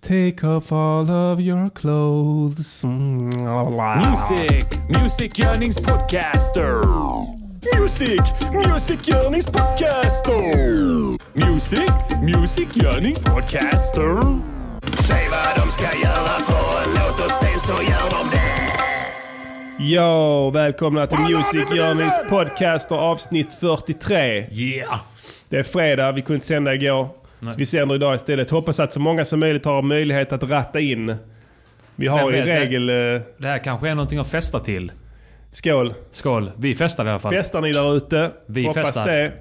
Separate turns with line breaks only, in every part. Take off all of your clothes. Mm, bla.
Music, Music Yearnings Podcaster. Music, Music Yearnings Podcaster. Music, Music Yearnings Podcaster. Säg vad de ska göra för en låt och sen så gör de det.
Ja, välkomna till Music Journeys podcast och avsnitt 43.
Yeah!
Det är fredag, vi kunde inte sända igår. Så vi sänder idag istället. Hoppas att så många som möjligt har möjlighet att ratta in. Vi har
Vem
i
vet, det-
regel... eh,
Det här kanske är någonting att festa till.
Skål!
Skål. Vi festar i alla fall.
Festar ni där ute?
Vi
Hoppas
festar.
det.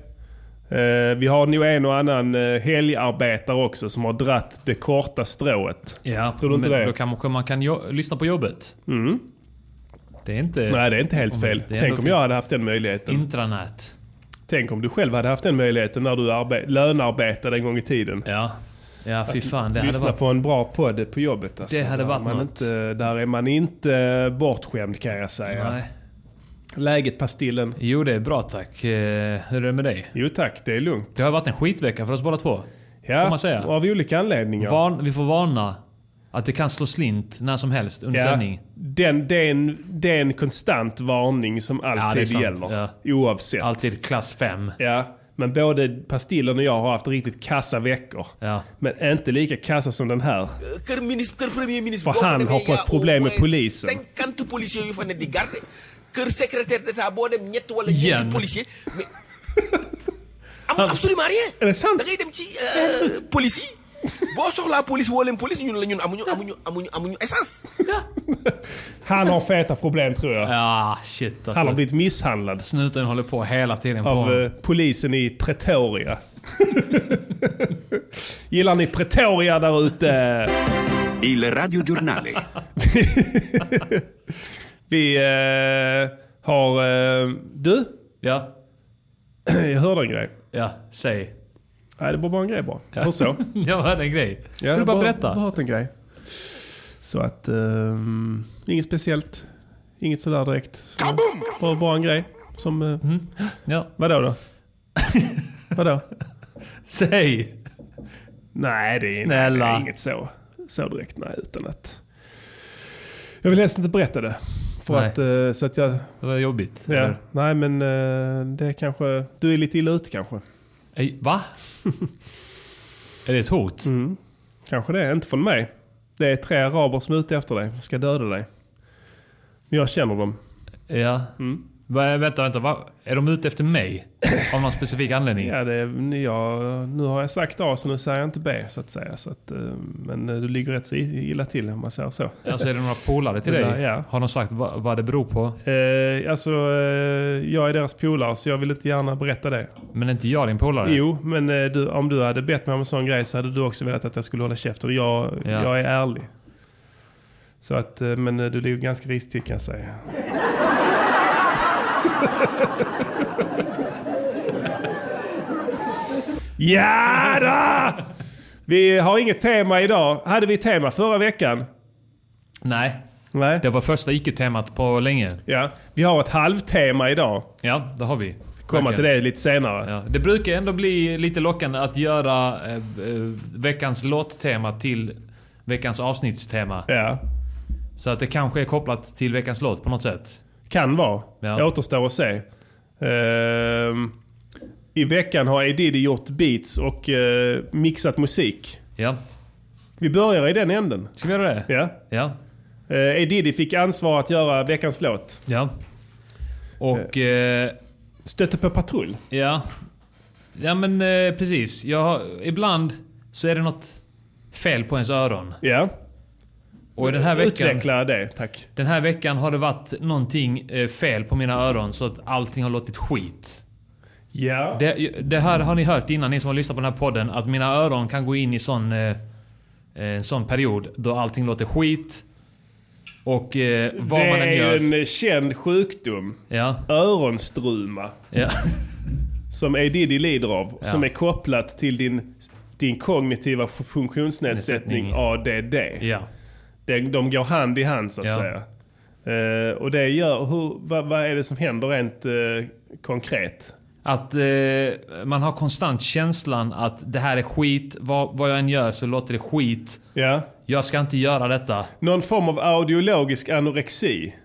Eh, vi har nog en och annan eh, helgarbetare också som har dratt det korta strået.
Ja,
Tror du inte
men
det? Mm.
Då kanske man kan jo- lyssna på jobbet. Det är inte
Nej, det är inte helt fel.
Det är
Tänk
ändå
om
fel.
jag hade haft den möjligheten.
intranät.
Tänk om du själv hade haft den möjligheten när du arbe- lönearbetade en gång i tiden.
Ja. Ja, fy fan. Det hade
Lyssna
varit...
på en bra podd på jobbet. Alltså.
Det hade
Där
varit
man
något.
Inte, där är man inte bortskämd kan jag säga.
Nej.
Läget Pastillen?
Jo, det är bra tack. Eh, Hur är det med dig?
Jo tack, det är lugnt.
Det har varit en skitvecka för oss båda två.
Ja,
Får man säga?
Av olika anledningar.
Van, vi får varna att det kan slå slint när som helst under
Ja,
sändning.
den, det, är en, det är en konstant varning som
Ja, det är
alltid
sant.
gäller.
Ja.
Oavsett.
Alltid klass 5.
Ja, men både Pastillen och jag har haft riktigt kassa veckor.
Ja.
Men inte lika kassa som den här.
Kerminister premierminister.
För han har fått problem med polisen.
50 poliser ju fann det garde. Ker sekretär d'etat både nytt wala
Igen.
nytt poliser. Men amul
Ah,
absolument rien.
Är det sant?
Da ngay dem ci euh, polisi. Boo soxlaa police woo leen police ñun la ñun amuñu amuñu amuñu amuñu essence.
Han har feta problem tror jag.
Ja, shit alltså.
Han har blivit misshandlad.
Snuten håller på hela tiden på
Av
honom.
eh, polisen i Pretoria. Gillar ni Pretoria där ute?
Il radiogiornale.
Vi eh, har... eh, du?
Ja,
Jag hörde en grej.
ja, säg.
Nej, det var bara en grej bara. Hur så?
Jag hörde en grej.
jag
Kan du
har
bara
Jag har
berätta?
hört en grej. Så att... eh, inget speciellt. Inget sådär direkt. Kaboom! Bara, bara en grej. Som... Uh,
Mm. Ja.
Vadå då? vadå?
Säg!
Nej, det är,
Snälla.
Nej, det är inget så, så direkt. Nej, utan att... Jag vill helst inte berätta det. För
Nej.
att, eh, så att jag...
Det var jobbigt.
Ja, nej, men eh, det är kanske... Du är lite illa ute kanske.
Ej, Va? är det ett hot?
Mm. Kanske det, inte från mig. Det är tre araber som är ute efter dig. De ska döda dig. Men jag känner dem.
Ja.
Mm.
Va, vänta, vänta. Va? Är de ute efter mig? Av någon specifik anledning?
Ja, det, är- jag, nu har jag sagt A så nu säger jag inte B så att säga. Så att, eh, men eh, du ligger rätt så illa till om man säger så.
Alltså är det några polare till
Det
dig?
där, ja.
Har de sagt va, vad det beror på?
Eh, alltså, eh, jag är deras polare så jag vill inte gärna berätta det.
Men inte jag din polare?
Jo, men eh, du, om du hade bett mig om en sån grej så hade du också velat att jag skulle hålla käften. Jag,
Ja.
jag är ärlig. Så att, eh, men eh, du ligger ganska risigt till kan jag säga. ja då! Vi har inget tema idag. Hade vi tema förra veckan?
Nej.
Nej.
Det var första icke-temat på länge.
Ja. Vi har ett halvtema idag.
Ja, det har vi.
Komma
Verkligen.
till det lite senare.
Ja, det brukar ändå bli lite lockande att göra eh, eh, veckans låttema till veckans avsnittstema.
ja.
Så att det kanske är kopplat till veckans låt på något sätt.
Kan vara.
Ja.
Det återstår att se. Ehm, I veckan har Edidi gjort beats och eh, mixat musik.
Ja,
Vi börjar i den änden.
ska vi göra det?
Ja.
Ja.
Eh, Edidi fick ansvar att göra veckans låt.
ja. Och... Eh,
Stötte på patrull.
ja. Ja men eh, precis. Jag, har- ibland så är det något fel på ens öron.
Ja.
Och den här veckan,
Utveckla det, tack.
den här veckan har det varit någonting eh, fel på mina öron så att allting har låtit skit.
Ja.
Det, det här har ni hört innan, ni som har lyssnat på den här podden. Att mina öron kan gå in i sån, eh, en sån period då allting låter skit. Och eh, vad
det
man än
är
gör.
ju en eh, känd sjukdom.
Ja,
Öronstruma.
ja,
Som Edidi lider av.
Ja.
Som är kopplat till din, din kognitiva f- funktionsnedsättning
Nedsättning.
ADD.
ja.
Det, de går hand i hand så att
Ja.
säga. Eh, och det gör, hur, vad, vad är det som händer rent eh, konkret?
Att eh, man har konstant känslan att det här är skit. Vad, vad jag än gör så låter det skit.
Ja.
Jag ska inte göra detta.
Någon form av audiologisk anorexi.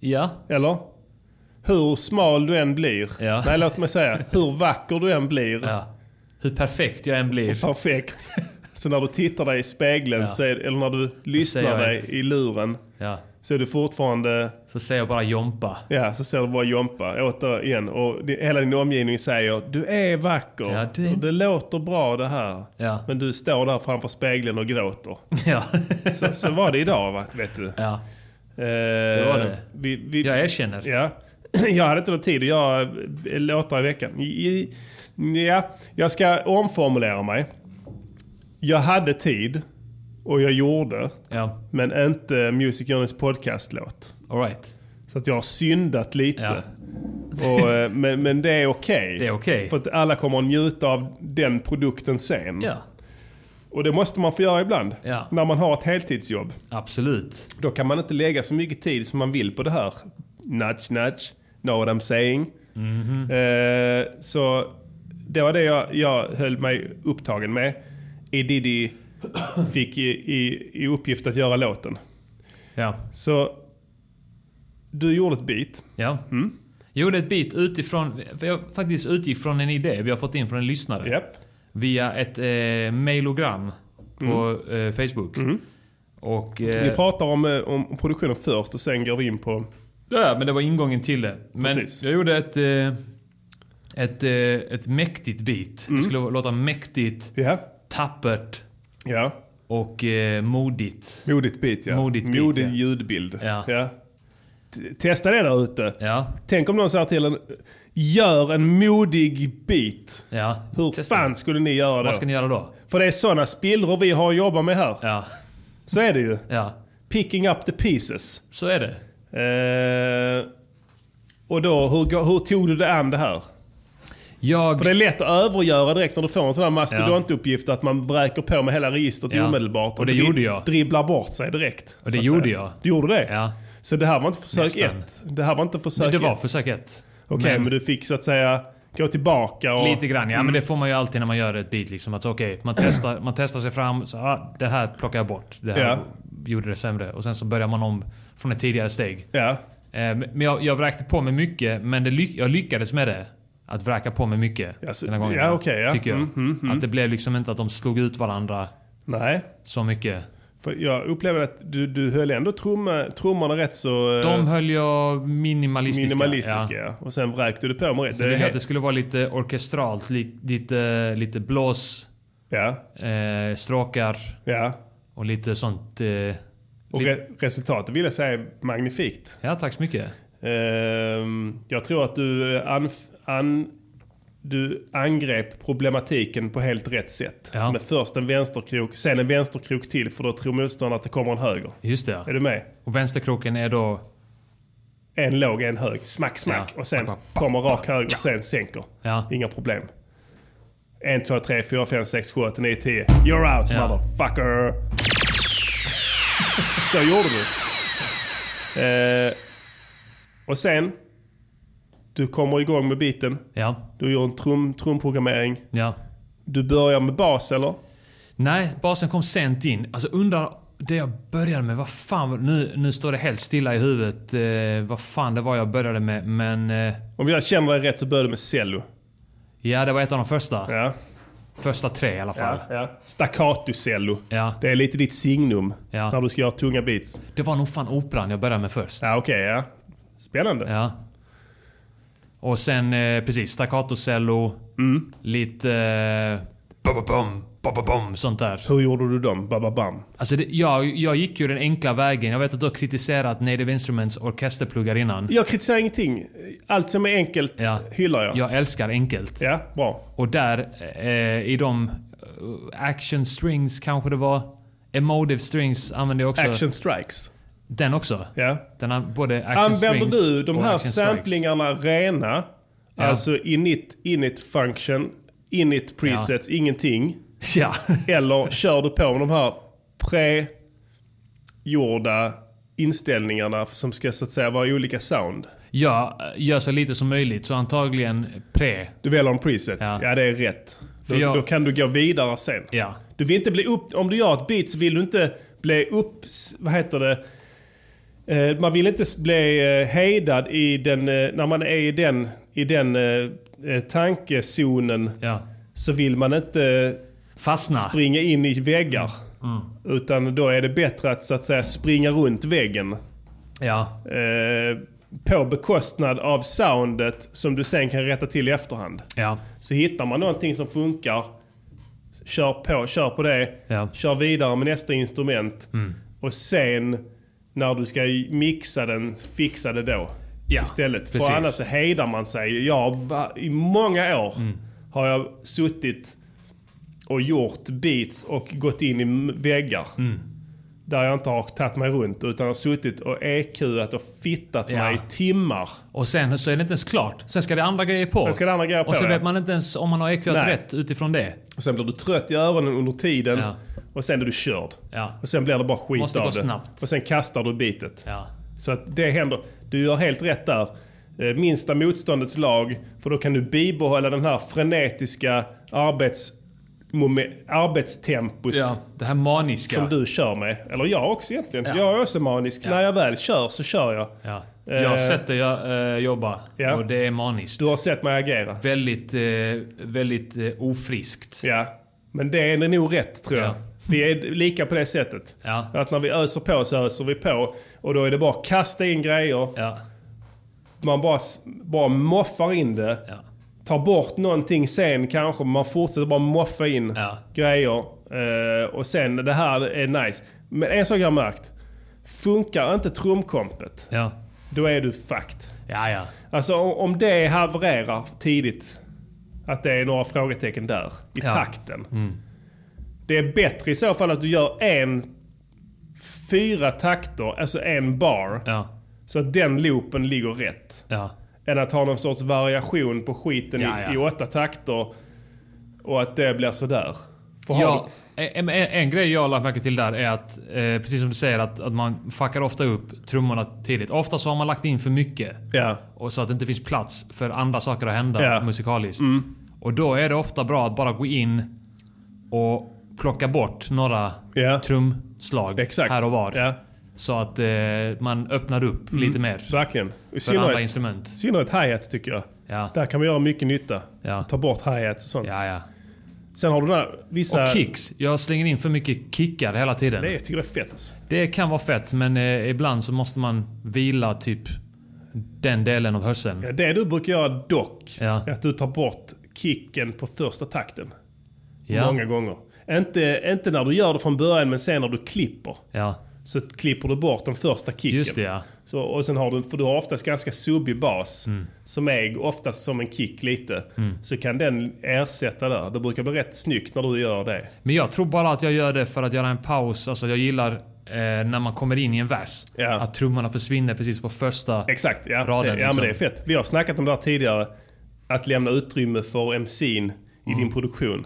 Ja.
Eller? Hur smal du än blir.
Ja.
Nej, låt mig säga. Hur vacker du än blir.
ja. Hur perfekt jag än blir.
Perfekt. Så när du tittar dig i spegeln,
Ja.
så är, eller när du
jag
lyssnar dig
inte.
i luren,
Ja.
så är du fortfarande,
Så säger jag bara jompa.
ja så ser du bara Jompa återigen. Och det, hela din omgivning säger, du är vacker.
Ja, du är-
Och Det låter bra det här.
Ja.
Men du står där framför spegeln och gråter.
Ja.
Så, så var det idag, va? vet du.
ja.
det
var det.
Vi, vi,
Jag erkänner.
Ja. Jag hade inte någon tid att göra eh, låtar i veckan. I- i- Ja, jag ska omformulera mig. Jag hade tid och jag gjorde,
Ja. men
men inte Music Journeys podcastlåt.
Alright.
Så att jag har syndat lite.
Ja.
Och, eh, men, men det är okej.
Det är okej.
För att alla kommer att njuta av den produkten sen.
Ja.
Och det måste man få göra ibland.
Ja.
När man har ett heltidsjobb.
Absolut.
Då kan man inte lägga så mycket tid som man vill på det här. Nudge, nudge. Know what I'm saying.
Mhm.
Eh, så det var det jag, jag höll mig upptagen med. Edidi fick i, i, i uppgift att göra låten.
Ja.
Så du gjorde ett beat.
Ja. Jag gjorde ett bit utifrån... för Jag faktiskt utgick från en idé vi har fått in från en lyssnare.
Japp.
Via ett eh, mailogram på eh, Facebook. Och... eh,
Vi Mm. pratar om, eh, om produktionen först och sen går vi in på...
Ja, men det var ingången till det. Men
Precis.
jag gjorde ett, eh, ett, eh, ett mäktigt beat. Det skulle låta mäktigt,
Mm. Ja.
tappert
Ja.
och eh, modigt.
Modigt beat ja.
Modigt beat,
Modig
ja.
ljudbild.
Ja.
T- Testa det där ute.
Ja,
Tänk om någon säger till en, gör en modig beat.
ja.
Hur
Testa.
fan skulle ni göra då?
Vad ska ni göra då?
För det är sådana spillror vi har att jobba med här.
Ja,
Så är det ju.
ja.
Picking up the pieces.
Så är det.
Eh, och då, hur, gå- hur tog du det an det här?
Jag...
För det är lätt att övergöra direkt när du får en sån här mastodontuppgift att man vräker på med hela registret
Ja.
omedelbart.
Och det
dri-
gjorde jag.
dribblar bort sig direkt.
Och det
så att
gjorde
säga.
jag.
Du gjorde det?
Ja.
Så det här var inte försök
Nästan.
ett? Det här var inte försök
Det var
ett?
försök ett.
Okej, men... du fick så att säga gå tillbaka och...
Lite grann, ja
Mm.
men det får man ju alltid när man gör ett beat. Liksom, att okej, man, testar, man testar sig fram. Så, ah, det här plockar jag bort. Det här
Ja.
gjorde det sämre. Och sen så börjar man om från ett tidigare steg.
Ja.
Eh, Men jag, jag vräkte på mig mycket, men det ly jag lyckades med det. Att vräka på mig mycket
Ja, så-
den här gången.
ja, okej, ja.
Tycker jag.
Mm,
Att det blev liksom inte att de slog ut varandra
Nej.
så mycket.
För jag upplevde att du, du höll ändå trumma, trummorna rätt så eh,
De höll jag minimalistiska.
minimalistiska. Ja. Och sen vräkte du på med rätt.
Så det,
är
är att
helt-
det skulle vara lite orkestralt, li lite, lite blås,
Ja,
eh, stråkar
ja.
och lite sånt. Eh,
Och re resultatet vill jag säga är magnifikt.
ja, tack så mycket.
Ehm, jag tror att du, eh, anf- an, du angrep problematiken på helt rätt sätt.
Ja.
Med först en vänsterkrok, sen en vänsterkrok till för då tror motståndaren att det kommer en höger.
Just det.
Är du med?
Och vänsterkroken är då...
En låg, en hög. Smack, smack.
Ja.
Och sen kommer rak höger, sen sänker.
Ja.
Inga problem. 1, 2, 3, 4, 5, 6, 7, 8, 9, 10. You're out
Ja.
motherfucker! Så gjorde du. Eh, och sen, du kommer igång med biten.
Ja,
Du gör en trum, trumprogrammering.
ja.
Du börjar med bas eller?
Nej, basen kom sent in. Alltså undrar det jag började med. Vad fan, var- nu, nu står det helt stilla i huvudet. Eh, vad fan det var jag började med. Men eh,
Om jag känner dig rätt så börjar du med cello.
ja, det var ett av de första.
Ja.
Första tre i alla fall.
ja. Staccato-cello.
Ja.
Det är lite ditt signum
Ja.
när du ska göra tunga beats.
Det var nog fan operan jag började med först.
Ja, okej. ja. Spännande.
Ja. Och sen eh, precis, staccatocello.
Mm.
Lite... Eh, ba-ba-bum, ba-ba-bum, sånt där.
Hur gjorde du dem? Bababam.
Alltså det, jag, jag gick ju den enkla vägen. Jag vet att du har kritiserat Native Instruments orkesterpluggar innan.
Jag kritiserar ingenting. Allt som är enkelt
Ja.
hyllar jag. Ja.
Jag älskar enkelt.
bra.
Och där eh, i de eh, action strings kanske det var. Emotive strings använde jag också.
Action strikes.
Den också.
Ja.
Den har både action
Använder
strings
du de
och
här
action strikes.
samplingarna rena? Alltså init, init function, init presets, ingenting.
Ja.
Eller kör du på med de här pregjorda inställningarna som ska så att säga vara olika sound.
Ja, eh, gör så lite som möjligt. Så antagligen pre.
Du väljer en preset. Ja,
Ja.
det är rätt. Då,
jag-
då kan du gå vidare sen.
Ja.
Du vill inte bli upp... Om du gör ett beat så vill du inte bli upp... Vad heter det? Eh, man vill inte s- bli eh, hejdad i den... Eh, när man är i den, i den eh, eh, tankezonen
Ja.
så vill man inte eh,
Fastna.
springa in i väggar. Utan då är det bättre att så att säga springa runt väggen.
Ja.
Eh, på bekostnad av soundet som du sen kan rätta till i efterhand.
Ja.
Så hittar man någonting som funkar, kör på, kör på det,
Ja. Mm.
kör vidare med nästa instrument. Och sen när du ska mixa den, fixa det då
Ja,
istället.
precis.
För annars så hejdar man sig. Jag, har va- I många år
Mm.
har jag suttit och gjort beats och gått in i m- väggar.
Mm.
Där jag inte har tagit mig runt utan har suttit och EQat och fittat
Ja.
mig i timmar.
Och sen så är det inte ens klart. Sen ska det andra grejer på.
Sen ska det andra grejer på,
Och så
ja.
vet man inte ens om man har EQat
Nej.
rätt utifrån det.
Och sen blir du trött i öronen under tiden.
Ja.
Och sen är du körd.
Ja.
Och sen blir det bara skit
Måste
av
gå
det.
snabbt.
Och sen kastar du bitet.
Ja.
Så att det händer. Du gör helt rätt där. Eh, Minsta motståndets lag. För då kan du bibehålla den här frenetiska arbets, momen- arbetstempot.
ja. Det här maniska.
Som du kör med. Eller jag också egentligen.
Ja.
Jag är också manisk. När jag väl kör så kör jag.
Ja. Jag har
Eh.
sett dig eh, jobba.
Ja.
Och det är maniskt.
Du har sett mig agera.
Väldigt, eh, väldigt eh, ofriskt.
Ja, men det är nog rätt tror jag.
Ja.
Vi är lika på det sättet.
Ja.
Att när vi öser på så öser vi på. Och då är det bara att kasta in grejer.
Ja.
Man bara, bara moffar in det.
Ja.
Tar bort någonting sen kanske. men Man fortsätter bara moffa in
Ja.
grejer. Eh, och sen det här är nice. Men en sak jag har märkt. Funkar inte trumkompet,
Ja.
då är du fucked.
Ja, ja.
Alltså om om det havererar tidigt, att det är några frågetecken där i
Ja. Mm.
takten. Det är bättre i så fall att du gör en fyra takter, alltså en bar,
Ja.
så att den loopen ligger rätt.
Ja.
Än att ha någon sorts variation på skiten
Ja, ja.
I, i åtta takter och att det blir sådär. För har
Ja, en, en, en grej jag har lagt märke till där är att, eh, precis som du säger, att, att man fuckar ofta upp trummorna tidigt. Ofta så har man lagt in för mycket.
du- ja.
Och så att det inte finns plats för andra saker att hända
Ja. Mm.
musikaliskt. Och då är det ofta bra att bara gå in och plocka bort några
Ja.
trumslag
Exakt.
här och var.
Ja. Mm.
Så att eh, man öppnar upp lite mer för
Verkligen. I
andra
synnerhet,
instrument.
i synnerhet hi-hats tycker jag.
Ja.
Där kan man göra mycket nytta.
Ja.
Ta bort hi-hats och sånt.
Ja, ja.
Sen har du den här vissa...
Och kicks. Jag slänger in för mycket kickar hela tiden.
Nej, jag tycker det är fett alltså.
Det kan vara fett, men eh, ibland så måste man vila typ den delen av hörseln.
Ja, Det du brukar göra dock,
Ja.
är att du tar bort kicken på första takten.
Ja.
Många gånger. Inte, inte när du gör det från början, men sen när du klipper.
Ja,
Så klipper du bort den första kicken.
just det ja.
Så, och sen har du, för du har oftast ganska subbig bas,
Mm.
som är oftast som en kick lite. Så kan den ersätta där. Det brukar bli rätt snyggt när du gör det.
Men jag tror bara att jag gör det för att göra en paus. Alltså jag gillar eh, när man kommer in i en vers.
Ja.
Att trummorna försvinner precis på första.
Exakt, ja.
Raden,
det, ja men
liksom.
det är fett. Vi har snackat om det här tidigare. Att lämna utrymme för MCn i
Mm.
din produktion.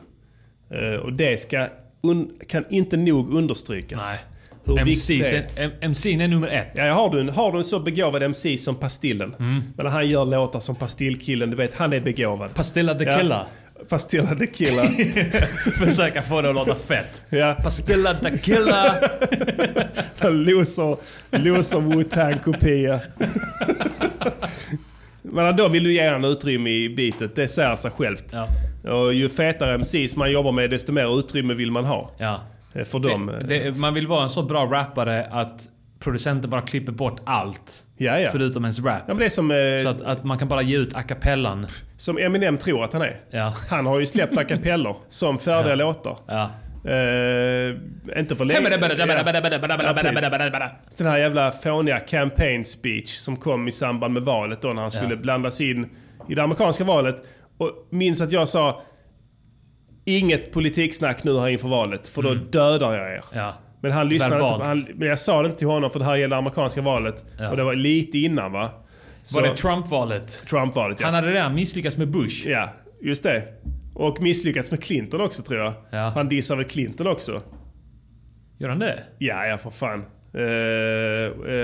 Eh, och det ska, un, kan inte nog understrykas.
Nej.
Hur viktigt
MC's
det är.
är, M- MC'n är nummer ett.
Ja, har, du en, har du en så begåvad MC som Pastillen.
Mm.
Men han gör låtar som Pastillkillen, du vet, han är begåvad.
Pastilla de Killa.
Pastilla de Killa.
Försöka få det att låta fett.
Ja.
Pastilla de Killa.
loser, loser Wu-Tang-kopia. Men då vill du ge honom utrymme i bitet, det säger sig självt.
Ja.
Och ju fetare MCs man jobbar med, desto mer utrymme vill man ha.
Ja.
Eh, För dem.
Det, det, man vill vara en så bra rappare att producenten bara klipper bort allt.
Ja, ja.
Förutom ens rap.
Ja, men det är som, eh,
Så att, att man kan bara ge ut a cappellan.
som Eminem tror att han är.
Ja.
Han har ju släppt a cappellor som färdiga låtar.
Ja.
Eh, inte för
Ja.
Den här jävla fåniga campaign speech som kom i samband med valet då när han skulle
Ja.
blandas in i det amerikanska valet. Och minns att jag sa inget politiksnack nu här inför valet för då dödar jag er.
Mm. Ja.
Men han lyssnade inte. på-
Verbalt.
Han, men jag sa det inte till honom för det här gällde amerikanska valet.
Ja.
Och det var lite innan va? Så,
Var det Trump-valet?
Trump-valet ja.
Han hade redan misslyckats med Bush.
Ja, just det. Och misslyckats med Clinton också tror jag.
Ja.
Han dissar väl Clinton också.
Gör han det?
Ja, ja för fan. eh,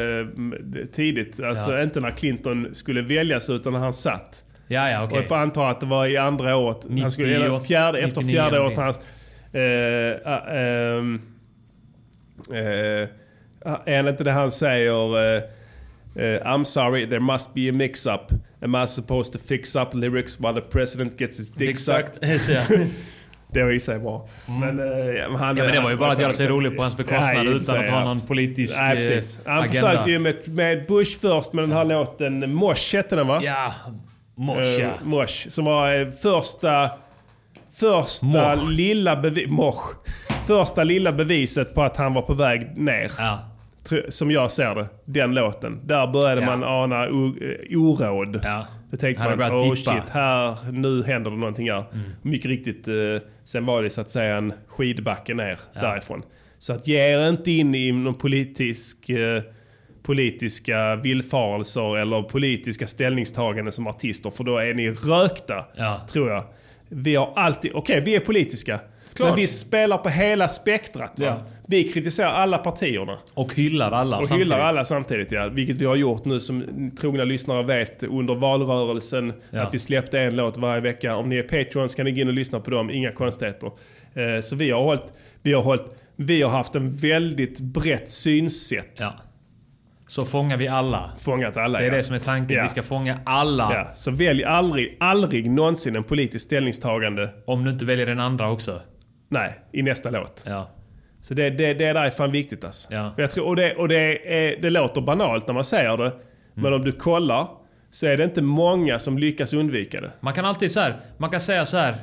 eh, tidigt. Alltså
Ja.
inte när Clinton skulle väljas utan när han satt.
Ja, ja, okej.
Och jag får anta att det var i andra året. han skulle, eller
98,
fjärde, efter
99
fjärde året.
någonting.
Hans, eh, ah, ehm, eh, ah, är det inte det han säger? eh, eh, I'm sorry, there must be a mix-up. Am I supposed to fix up lyrics while the president gets his dick sucked?
Just det.
Det var i sig bra. Men, eh, ja, men han,
Mm. Ja, men det var ju bara att göra sig rolig på hans bekostnad
Ja, i och för
utan
sig,
att ha
ja.
någon politisk
Nej,
eh,
precis. Han
agenda.
försökte ju med, med Bush först med den här låten Mosh hette den va?
Ja, mosh
Eh,
ja.
Mosh. Som var eh, första... Första
Mosh.
lilla bevi- Mosh. Första lilla beviset på att han var på väg ner.
ja.
Tr- Som jag ser det. Den låten. Där började
Ja.
man ana o- eh, oråd.
Ja.
Då tänkte
Han hade
man,
börjat
oh
dippa." Mm.
shit, här, nu händer det någonting här. Mycket riktigt, eh, sen var det så att säga en skidbacke ner därifrån. Så att ge er inte in i någon politisk, eh, politiska villfarelser eller politiska ställningstaganden som artister, för då är ni rökta,
Ja.
tror jag. Vi har alltid, okej vi är politiska, men vi spelar på hela spektrat. Va?
Ja.
Vi kritiserar alla partierna.
Och hyllar alla
Och
samtidigt.
hyllar alla samtidigt ja. Vilket vi har gjort nu som trogna lyssnare vet under valrörelsen.
Ja.
Att vi släppte en låt varje vecka. Om ni är Patreons kan ni gå in och lyssna på dem, inga konstigheter. Eh, så vi har, hållit, vi, har hållit, vi har haft en väldigt brett synsätt.
Ja. Så fångar vi alla.
Fångat alla.
Det är
ja.
det som är tanken.
Ja.
Vi ska fånga alla.
Ja. Så välj aldrig, aldrig någonsin en politisk ställningstagande.
Om du inte väljer den andra också.
Nej, i nästa låt.
Ja.
Så det, det, det där är fan viktigt alltså.
Ja.
Jag tror, och det, och det, är, det låter banalt när man säger det.
Mm.
Men om du kollar så är det inte många som lyckas undvika det.
Man kan alltid så här, man kan säga så här.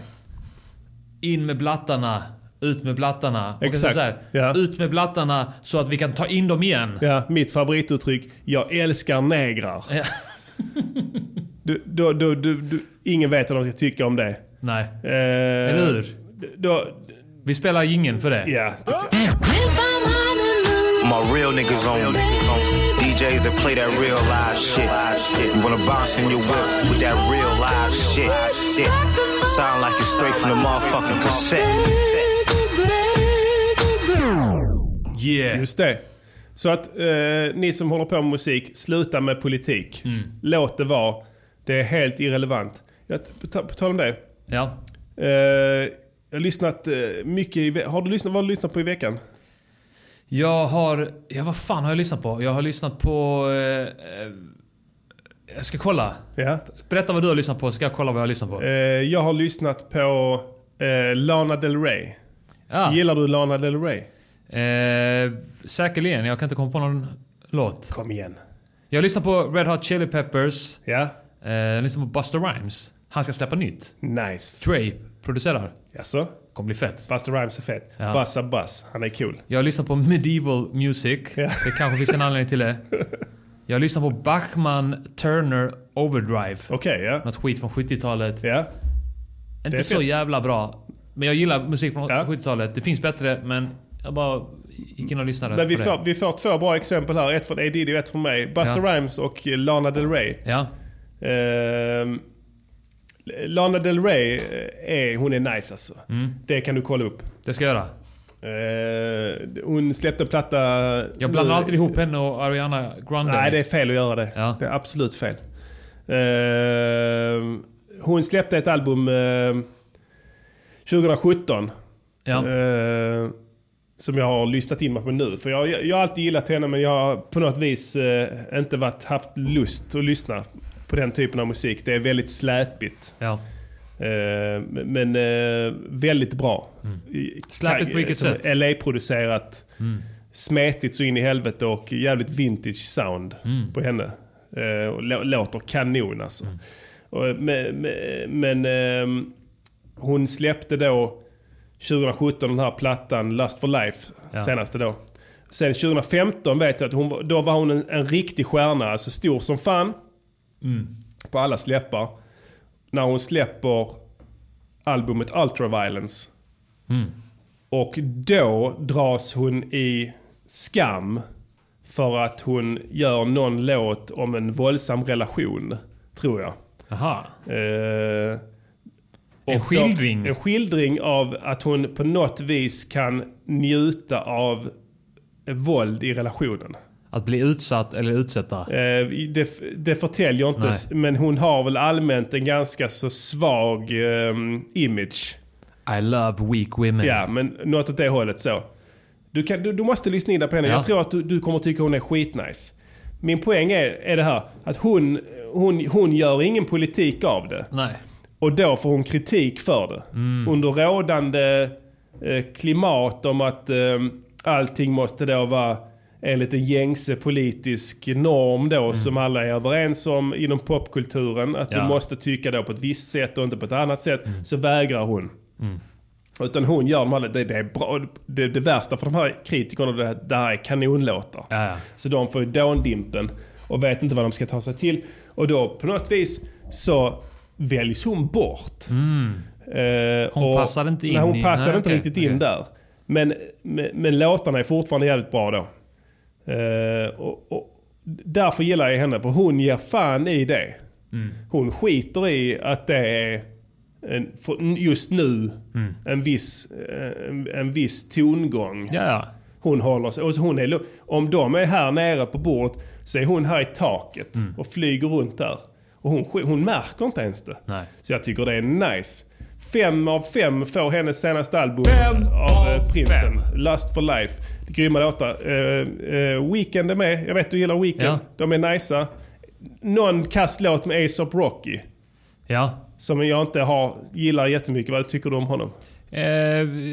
In med blattarna, ut med blattarna. Man kan säga
Exakt.
så här,
Ja.
Ut med blattarna så att vi kan ta in dem igen.
Ja, mitt favorituttryck, jag älskar negrar.
Ja.
Du, då, då, du, du, ingen vet vad de ska tycka om det.
Nej,
Eh,
eller hur?
Då,
Vi spelar ingen för det.
ja,
If I'm Honolulu,
My real niggas on DJs that play that real live shit. You wanna bounce in your whip with that real live shit. Sound like it's straight from the motherfucking cassette.
Yeah.
just det. Så att eh, ni som håller på med musik, sluta med politik.
Mm.
Låt det vara. Det är helt irrelevant. Jag, på, ta- på tal om det.
Ja.
Eh, jag har lyssnat eh, mycket i ve- Har du lyssnat, vad har du lyssnat på i veckan?
Jag har... Ja, vad fan har jag lyssnat på? Jag har lyssnat på... Eh, eh, jag ska kolla.
Ja.
Berätta vad du har lyssnat på så ska jag kolla vad jag har lyssnat på.
Eh, jag har lyssnat på eh, Lana Del Rey.
ja.
Gillar du Lana Del Rey?
Eh, säkerligen. Jag kan inte komma på någon låt.
Kom igen.
Jag lyssnar på Red Hot Chili Peppers.
Ja,
Eh, jag lyssnar på Buster Rhymes. Han ska släppa nytt.
nice.
Dre producerar.
Jaså?
Kommer bli fett.
Buster Rhymes är fet.
Ja.
Buzza Buzz, han är cool.
Jag lyssnar på Medieval Music.
Ja.
Det kanske finns en anledning till det. Jag lyssnar på Bachman Turner Overdrive.
Okej, ja.
Något skit från 70-talet.
Ja, det är
Inte så
fett.
jävla bra. Men jag gillar musik från
Ja.
70-talet. Det finns bättre men jag bara gick in och lyssnade
Men vi,
på
får,
det.
vi får två bra exempel här. Ett från A. Diddy och ett från mig. Buster
Ja.
Rhymes och eh, Lana Del Rey.
Ja.
Ehm, Lana Del Rey, eh, är, hon är nice alltså.
Mm.
Det kan du kolla upp.
Det ska jag göra.
Eh, hon släppte en platta...
Jag blandar
nu-
alltid ihop henne och Ariana Grande.
Nej, det är fel att göra det.
Ja.
Det är absolut fel. Eh, hon släppte ett album eh, 2017.
ja.
Eh, som jag har lyssnat in mig på nu. För jag, jag har alltid gillat henne men jag har på något vis eh, inte varit, haft lust att lyssna på den typen av musik. Det är väldigt släpigt.
ja.
Eh, men eh, väldigt bra. I-
Släpigt
tag-
på vilket
som
sätt? Mm.
LA-producerat. Smetigt så in i helvete och jävligt vintage sound
Mm.
på henne. Eh, och lå- låter kanon alltså. Och, men men, men ehm, hon släppte då 2017 den här plattan Lust for Life,
Ja.
senaste då. Sen 2015 vet jag att hon, var- då var hon en, en riktig stjärna, alltså stor som fan.
Mm.
På alla släppar. När hon släpper albumet Ultraviolence. Och då dras hon i skam för att hon gör någon låt om en våldsam relation, tror jag.
Aha.
Eh, och
En skildring.
En skildring av att hon på något vis kan njuta av våld i relationen.
Att bli utsatt eller utsätta.
Eh, det, det förtäljer inte,
Nej.
men hon har väl allmänt en ganska så svag ehm, image.
I love weak women.
Ja, men något åt det hållet så. Du, kan, du, du måste lyssna in där på henne.
Ja.
Jag tror att du, du kommer tycka hon är skitnice. Min poäng är, är det här att hon, hon, hon gör ingen politik av det.
Nej.
Och då får hon kritik för det. Under rådande eh, klimat om att eh, allting måste då vara enligt en gängse politisk norm då som alla är överens om inom popkulturen. Att du
Ja.
måste tycka då på ett visst sätt och inte på ett annat sätt. Så vägrar hon. Utan hon gör de här, det, det är bra, det, det värsta för de här kritikerna det, här- det här är kanonlåtar.
Ja, ja.
Så de får ju dåndimpen och vet inte vad de ska ta sig till. Och då på något vis så väljs hon bort. Eh,
Mm. Hon passade inte in
Nej, hon
i-
passade
nej,
inte
okej,
riktigt in
okej.
där. Men, men, men låtarna är fortfarande jävligt bra då. Eh, och, och därför gillar jag henne, för hon ger fan i det. Hon skiter i att det är en, för just nu en, viss, eh, en, en viss tongång.
Ja, ja.
Hon håller sig, och så hon är, lo- om de är här nere på bordet så är hon här i taket
Mm.
och flyger runt där. Och hon, sk- hon märker inte ens det.
Nej.
Så jag tycker det är nice. Fem av fem får hennes senaste album eh, av eh, Prinsen. Lust for Life. Grymma låtar. Eh, eh, Weekend är med. Jag vet du gillar Weekend.
Ja.
De är nicea. Någon kass låt med ASAP Rocky.
ja.
Som jag inte har, gillar jättemycket. Vad tycker du om honom?
Eh,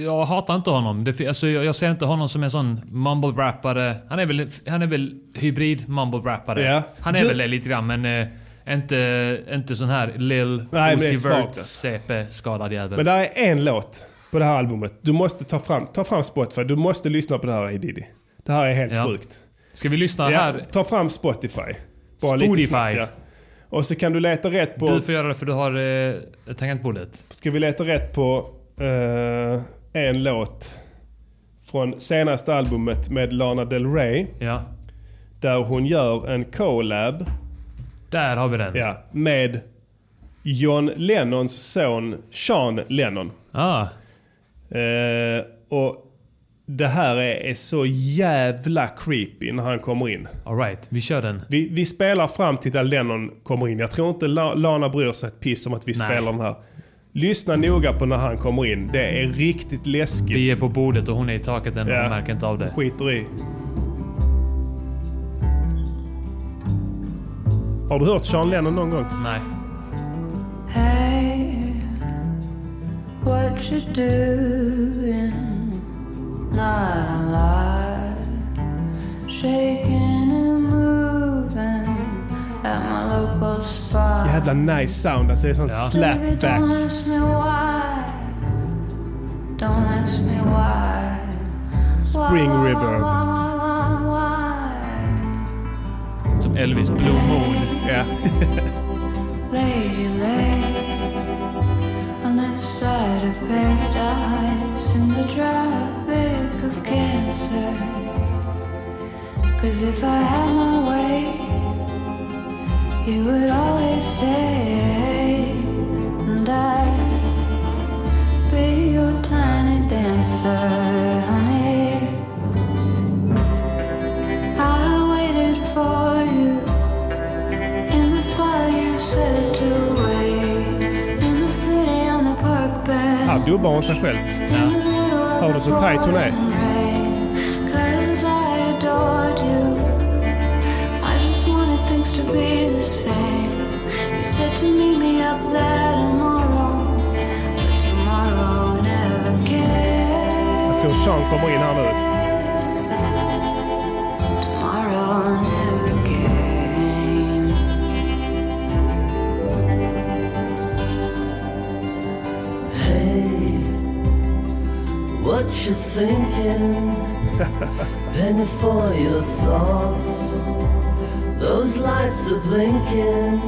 jag hatar inte honom. Det, fi- alltså, jag, jag ser inte honom som en sån mumble-rappare. Han är väl, han är väl hybrid mumble-rappare.
Ja.
Han är
Du-
väl det lite grann, men eh, inte, inte sån här Lil
Nej, men det är
Uzi
svagt,
Vert
alltså.
CP-skadad jävel.
Men där är en låt på det här albumet. Du måste ta fram, ta fram Spotify. Du måste lyssna på det här A. Diddy. Det här är helt
Ja.
sjukt.
Ska vi lyssna
Ja,
här?
ta fram Spotify.
Spotify.
Och så kan du leta rätt på...
Du får göra det för du har eh, tangentbordet.
Ska vi leta rätt på eh, en låt från senaste albumet med Lana Del Rey.
Ja.
Där hon gör en collab
Där har vi den.
ja, med John Lennons son Sean Lennon.
Ah,
Eh, och det här är, är så jävla creepy när han kommer in.
all right. Vi kör den.
Vi, vi spelar fram till där Lennon kommer in. Jag tror inte La, Lana bryr sig ett piss om att vi
Nej.
spelar den här. Lyssna noga på när han kommer in. Det är riktigt läskigt.
Vi är på bordet och hon är i taket än.
Ja.
Hon märker inte av det.
Skiter i. Har du hört Sean Lennon någon gång?
Nej.
Hey, what you doing? Not alive. Shaking and moving at my local spot.
Jävla nice sound. Alltså det är sån
Baby, don't
slapback.
ask me why. Don't ask me why.
Spring
Why, why,
reverb.
Why, why, why, why?
Som Elvis Blue Moon.
Ja.
Lady, lady, on this side of paradise, in the tropic of cancer. Cause if I had my way, you would always stay, and I'd be your tiny dancer, honey. I waited for you. In the spot you said to wait In the city on the park bench
Här dubbar hon sig själv.
In the middle of
Har du
the
så tajt hon är?
pouring rain. 'Cause I adored you I just wanted things to be the same You said to meet me up there tomorrow But tomorrow never
Jag tror
came
Sean kommer in här nu.
Tomorrow never came
What you thinking? Penny for your thoughts. Those lights are blinking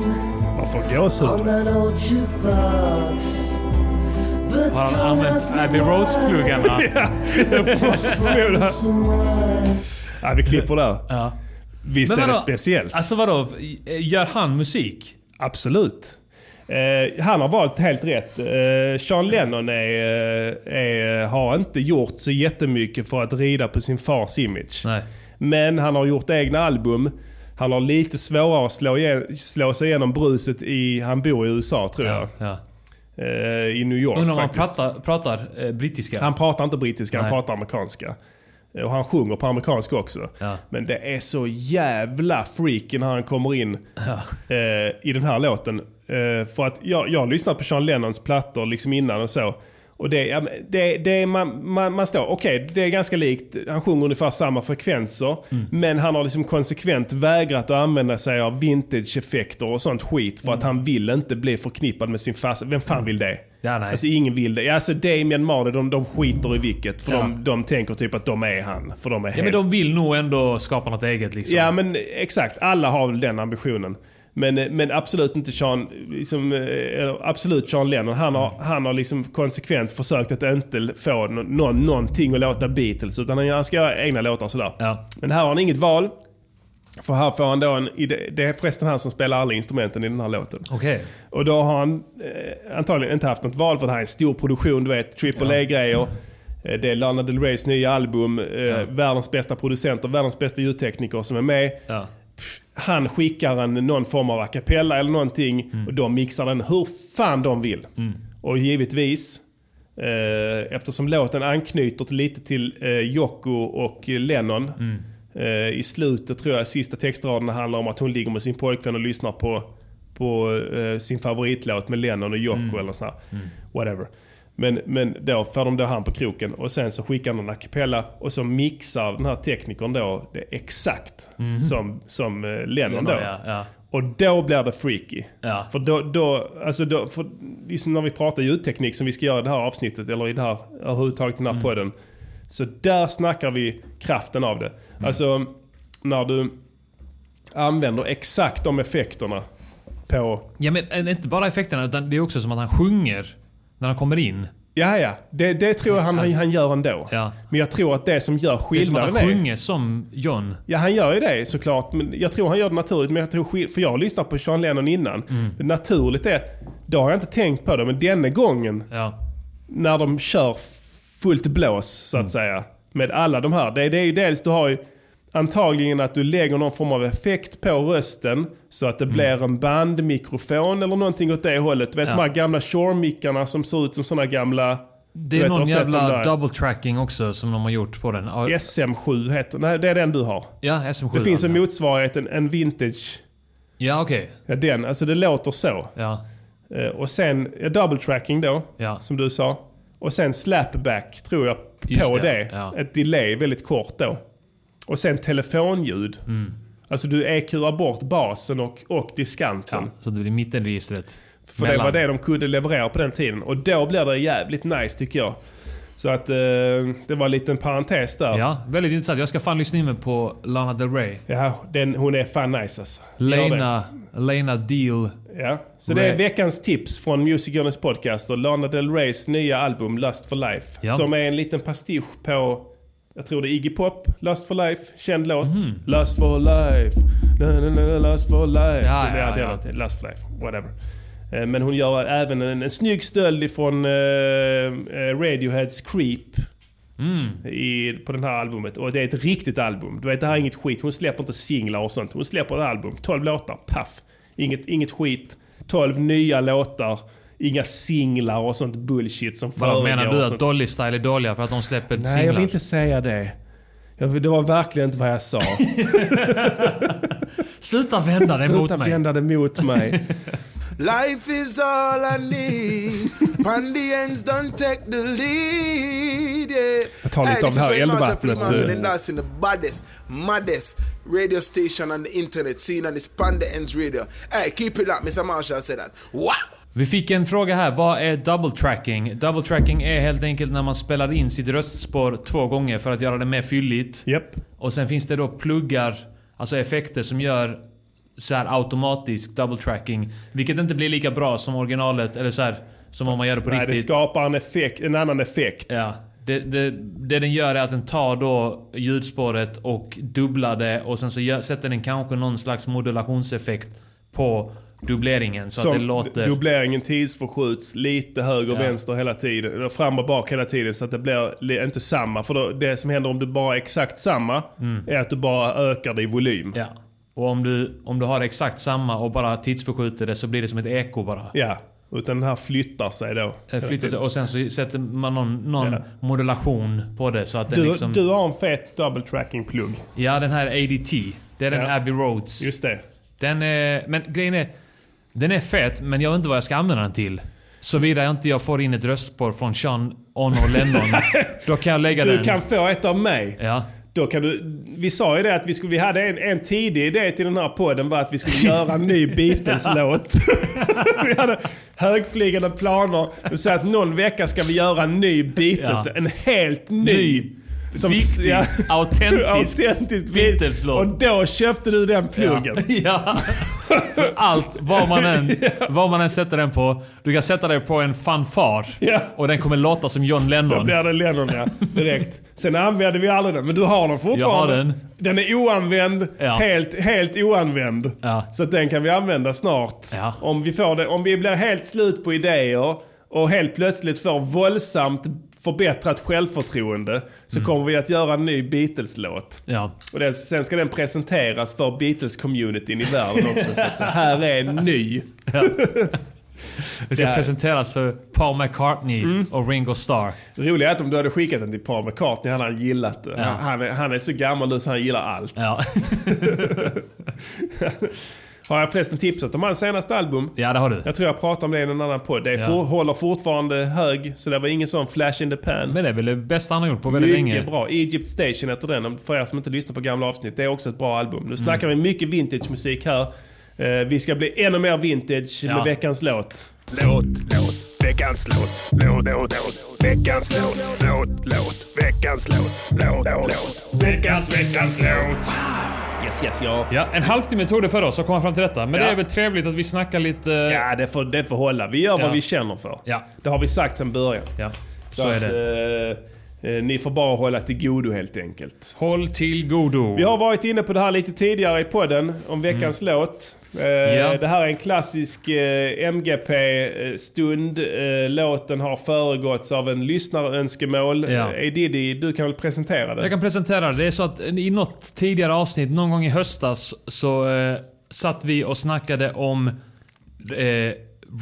Man får
on
gåshud.
that old jukebox. But
Har han
don't
använt
ask me
Abbey Roads-pluggarna?
why.
Ja, vi klipper där. Visst är det speciellt?
Alltså vadå? Gör han eh, musik?
Absolut. Eh, han har valt helt rätt. Eh, Sean Lennon är, eh, är, har inte gjort så jättemycket för att rida på sin fars image.
Nej.
Men han har gjort egna album. Han har lite svårare att slå, igen, slå sig igenom bruset i... Han bor i USA tror
Ja.
jag.
Ja.
Eh, I New York
Undrar om han
faktiskt.
pratar, pratar eh, brittiska?
Han pratar inte brittiska, han
Nej.
pratar amerikanska. Och han sjunger på amerikanska också.
Ja.
Men det är så jävla freaky när han kommer in eh, i den här låten. Eh, för att jag, jag har lyssnat på Sean Lennons plattor liksom innan och så. Och det, ja, men det, det är man, man, man står, okej det är ganska likt, han sjunger ungefär samma frekvenser.
Mm.
Men han har liksom konsekvent vägrat att använda sig av vintage-effekter och sånt skit. För att han vill inte bli förknippad med sin farsa. Vem fan vill det?
Mm. Ja, nej.
Alltså, ingen vill det. Ja, Alltså Damien Marley, de, de skiter i vilket. För
Ja.
de, de tänker typ att de är han. För de är
ja, men de vill nog ändå skapa något eget liksom.
Ja men exakt, alla har väl den ambitionen. Men, eh, men absolut inte Sean, liksom, eh, eller absolut Sean Lennon. Han har,
Mm.
han har liksom konsekvent försökt att inte få nå- nå- någonting att låta Beatles. Utan han ska göra egna låtar sådär.
Ja.
Men här har han inget val. För här får han då en idé. Det är förresten han som spelar alla instrumenten i den här låten.
Okej.
Och då har han eh, antagligen inte haft något val för det här är en stor produktion, du vet. Triple A-grejer. Eh, Det är Lana Del Reys nya album. Eh, Världens bästa producenter, världens bästa ljudtekniker som är med.
Ja.
Pff, Han skickar en, någon form av a cappella eller någonting och de mixar den hur fan de vill. Och givetvis, eh, eftersom låten anknyter till- lite till eh, Yoko och eh, Lennon. Eh, I slutet tror jag sista textraden handlar om att hon ligger med sin pojkvän och lyssnar på, på eh, sin favoritlåt med Lennon och Yoko
Mm.
eller sådär. Whatever. Men, men då får de då han på kroken och sen så skickar de en a cappella och så mixar den här teknikern då det exakt som, som eh, Lennon då.
Mm. Ja, ja.
Och då blir det freaky.
Ja.
För då, då, alltså då för, liksom när vi pratar ljudteknik som vi ska göra i det här avsnittet eller i det här, överhuvudtaget i den här
Mm.
podden. Så där snackar vi kraften av det.
Mm.
Alltså när du använder exakt de effekterna på...
ja men eh, inte bara effekterna utan det är också som att han sjunger när han kommer in.
Ja, ja. Det, det tror jag han, han, han gör ändå.
Ja.
Men jag tror att det som gör
Det är som att
skillnaden
han sjunger som John.
Ja, han gör ju det såklart. Men jag tror han gör det naturligt. Men jag tror, skill- för jag har lyssnat på Sean Lennon innan.
Mm.
Naturligt är, då har jag inte tänkt på det. Men denna gången
Ja.
när de kör fullt blås så att
Mm.
säga. Med alla de här. Det, det är ju dels du har ju antagligen att du lägger någon form av effekt på rösten. Så
Mm.
att det blir en bandmikrofon eller någonting åt det hållet. Du vet
Ja.
de här gamla Shore-mickarna som ser ut som sådana gamla...
Det
du
är
vet,
någon
har sett de
jävla
där?
double tracking också som de har gjort på den. Ja,
SM7 heter Nej, det är den du har.
Ja, SM7.
Det finns en
ja.
motsvarighet, en, en vintage.
alltså. Ja, okej.
Ja, den. Alltså det låter så.
Ja.
Eh, Och sen ja, double tracking då,
Ja.
som du sa. Och sen slapback tror jag
Just
på
det,
det.
ja.
Ett delay väldigt kort då. Och sen telefonljud.
Mm.
Alltså du EQar bort basen och, och diskanten.
ja. Så det blir mittenregistret.
För det var det de kunde leverera på den tiden. Och då blev det jävligt nice tycker jag. Så att eh, det var en liten parentes där.
Ja, väldigt intressant. Jag ska fan lyssna in mig på Lana Del Rey.
Ja, den, hon är fan nice alltså. Gör det.
Lena, Lena Deal.
Ja, så det är
Right.
veckans tips från Music Journeys podcast och Lana Del Reys nya album Lust for Life.
Ja.
Som är en liten pastisch på, jag tror det är Iggy Pop, Lust for Life, känd låt.
Mhm.
Lust for Life, na, na, na, na, Lust for Life.
Ja,
Så det
ja,
är det
ja.
någonting. Lust for Life, whatever. Eh, Men hon gör även en, en snygg stöld ifrån eh, eh, Radioheads Creep. I, på det här albumet. Och det är ett riktigt album. Du vet, det här är inget skit. Hon släpper inte singlar och sånt. Hon släpper ett album. 12 låtar. Paff. Inget, inget skit. 12 nya låtar. Inga singlar och sånt bullshit som
Vadå, menar
föregår
du
och
att
sånt.
Dolly Style är dåliga för att de släpper
Nej, jag
singlar?
vill inte säga det. Jag vill, det var verkligen inte vad jag sa.
Sluta vända dig mot
Sluta
mig.
vända det mot mig.
Life is all I need. Pandians done take the lead. Yeah.
Jag tar lite
Hey,
av det här
this is Wayne Marshall,
elvattnet,
Free Marshall,
eh.
the last in the baddest, maddest radio station on the internet seen on this Pandians radio. Hey, keep it up, Mr. Marshall said that. What?
Vi fick en fråga här. Vad är double tracking? Double tracking är helt enkelt när man spelar in sitt röstspår två gånger för att göra det mer fylligt.
Japp.
Och sen finns det då pluggar, alltså effekter som gör så här automatisk double tracking. Vilket inte blir lika bra som originalet eller så här som om man gör det på
Nej, det
riktigt.
skapar en, effekt, en annan effekt.
Ja. Det, det, det den gör är att den tar då ljudspåret och dubblar det och sen så gör, sätter den kanske någon slags modulationseffekt på dubbleringen så att det låter...
Dubbleringen tidsförskjuts lite höger och
Ja.
vänster hela tiden. Eller fram och bak hela tiden så att det blir li- inte samma. För då, det som händer om du bara är exakt samma är att du bara ökar det i volym.
Mm. Ja. Och om du, om du har exakt samma och bara tidsförskjuter det så blir det som ett eko bara.
Ja, utan den här flyttar sig då.
Eh, Flyttar sig. Och sen så sätter man någon, någon
Ja.
modulation på det så att den
Du,
liksom...
du har en fet double tracking-plugg.
Ja, den här ADT. Det är den
Ja.
Abbey Roads.
Just det.
Den är, men grejen är... Den är fet, men jag vet inte vad jag ska använda den till. Såvida jag inte jag får in ett röstspår från Sean Ono Lennon. då kan jag lägga
Du
den...
kan få ett av mig.
Ja.
Då kan du, vi sa ju det att vi, skulle, vi hade en, en tidig idé till den här podden var att vi skulle göra en ny Beatles-låt. vi hade högflygande planer. Och så att någon vecka ska vi göra en ny Beatles,
Ja.
en helt ny.
Ny. Viktig, autentisk
autentisk
Beatles-låt.
Och då köpte du den pluggen.
Ja. För Allt, vad man, än, vad man än sätter den på. Du kan sätta den på en fanfar
Ja.
och den kommer låta som John
Då
Lennon.
blir det Lennon ja, direkt. Sen använde vi aldrig den, men du har den fortfarande.
Jag har den.
Den är oanvänd,
Ja.
helt, helt oanvänd.
Ja.
Så att den kan vi använda snart.
Ja.
Om, vi får det, om vi blir helt slut på idéer och helt plötsligt får våldsamt förbättrat självförtroende så kommer vi att göra en ny Beatles-låt.
Mm. Ja.
Och den, sen ska den presenteras för Beatles-communityn i världen också. så att, så här är en ny.
Det ska
Ja.
presenteras för Paul McCartney
Mm.
och Ringo Starr.
Roliga är att om du hade skickat den till Paul McCartney hade han gillat det. Han, han är, han är så gammal nu så han gillar allt.
Ja.
Har jag förresten tipsat om hans senaste album?
ja, det har du.
Jag tror jag pratade om det i en annan podd. Det är
Ja.
for, håller fortfarande hög, så det var ingen sån flash in the pan.
Men det är väl det bästa han har gjort på väldigt
mycket
länge.
bra. Egypt Station heter den, om- för er som inte lyssnar på gamla avsnitt. Det är också ett bra album.
Mm.
Nu snackar vi mycket vintage musik här. Eh, vi ska bli ännu mer vintage
Ja.
med veckans låt.
Låt, låt, veckans låt. Låt, låt, låt, veckans låt. Låt, låt, veckans låt. Låt, låt, veckans, veckans låt.
Yes, yes, ja.
Ja, en halvtimme tog det för oss att komma fram till detta. Men
Ja.
det är väl trevligt att vi snackar lite...
Ja, det får, det får hålla. Vi gör
Ja.
vad vi känner för.
Ja.
Det har vi sagt sedan början.
Ja, så,
Så
är
att,
det.
eh, eh, ni får bara hålla till godo helt enkelt.
Håll till godo.
Vi har varit inne på det här lite tidigare i podden om veckans låt. Eh,
Mm. Ja.
Det här är en klassisk eh, MGP-stund. Eh, låten har föregåtts av en lyssnarönskemål.
Ja.
Eh, Diddy, du kan väl presentera det?
Jag kan presentera det. Det är så att eh, i något tidigare avsnitt, någon gång i höstas, så eh, satt vi och snackade om eh,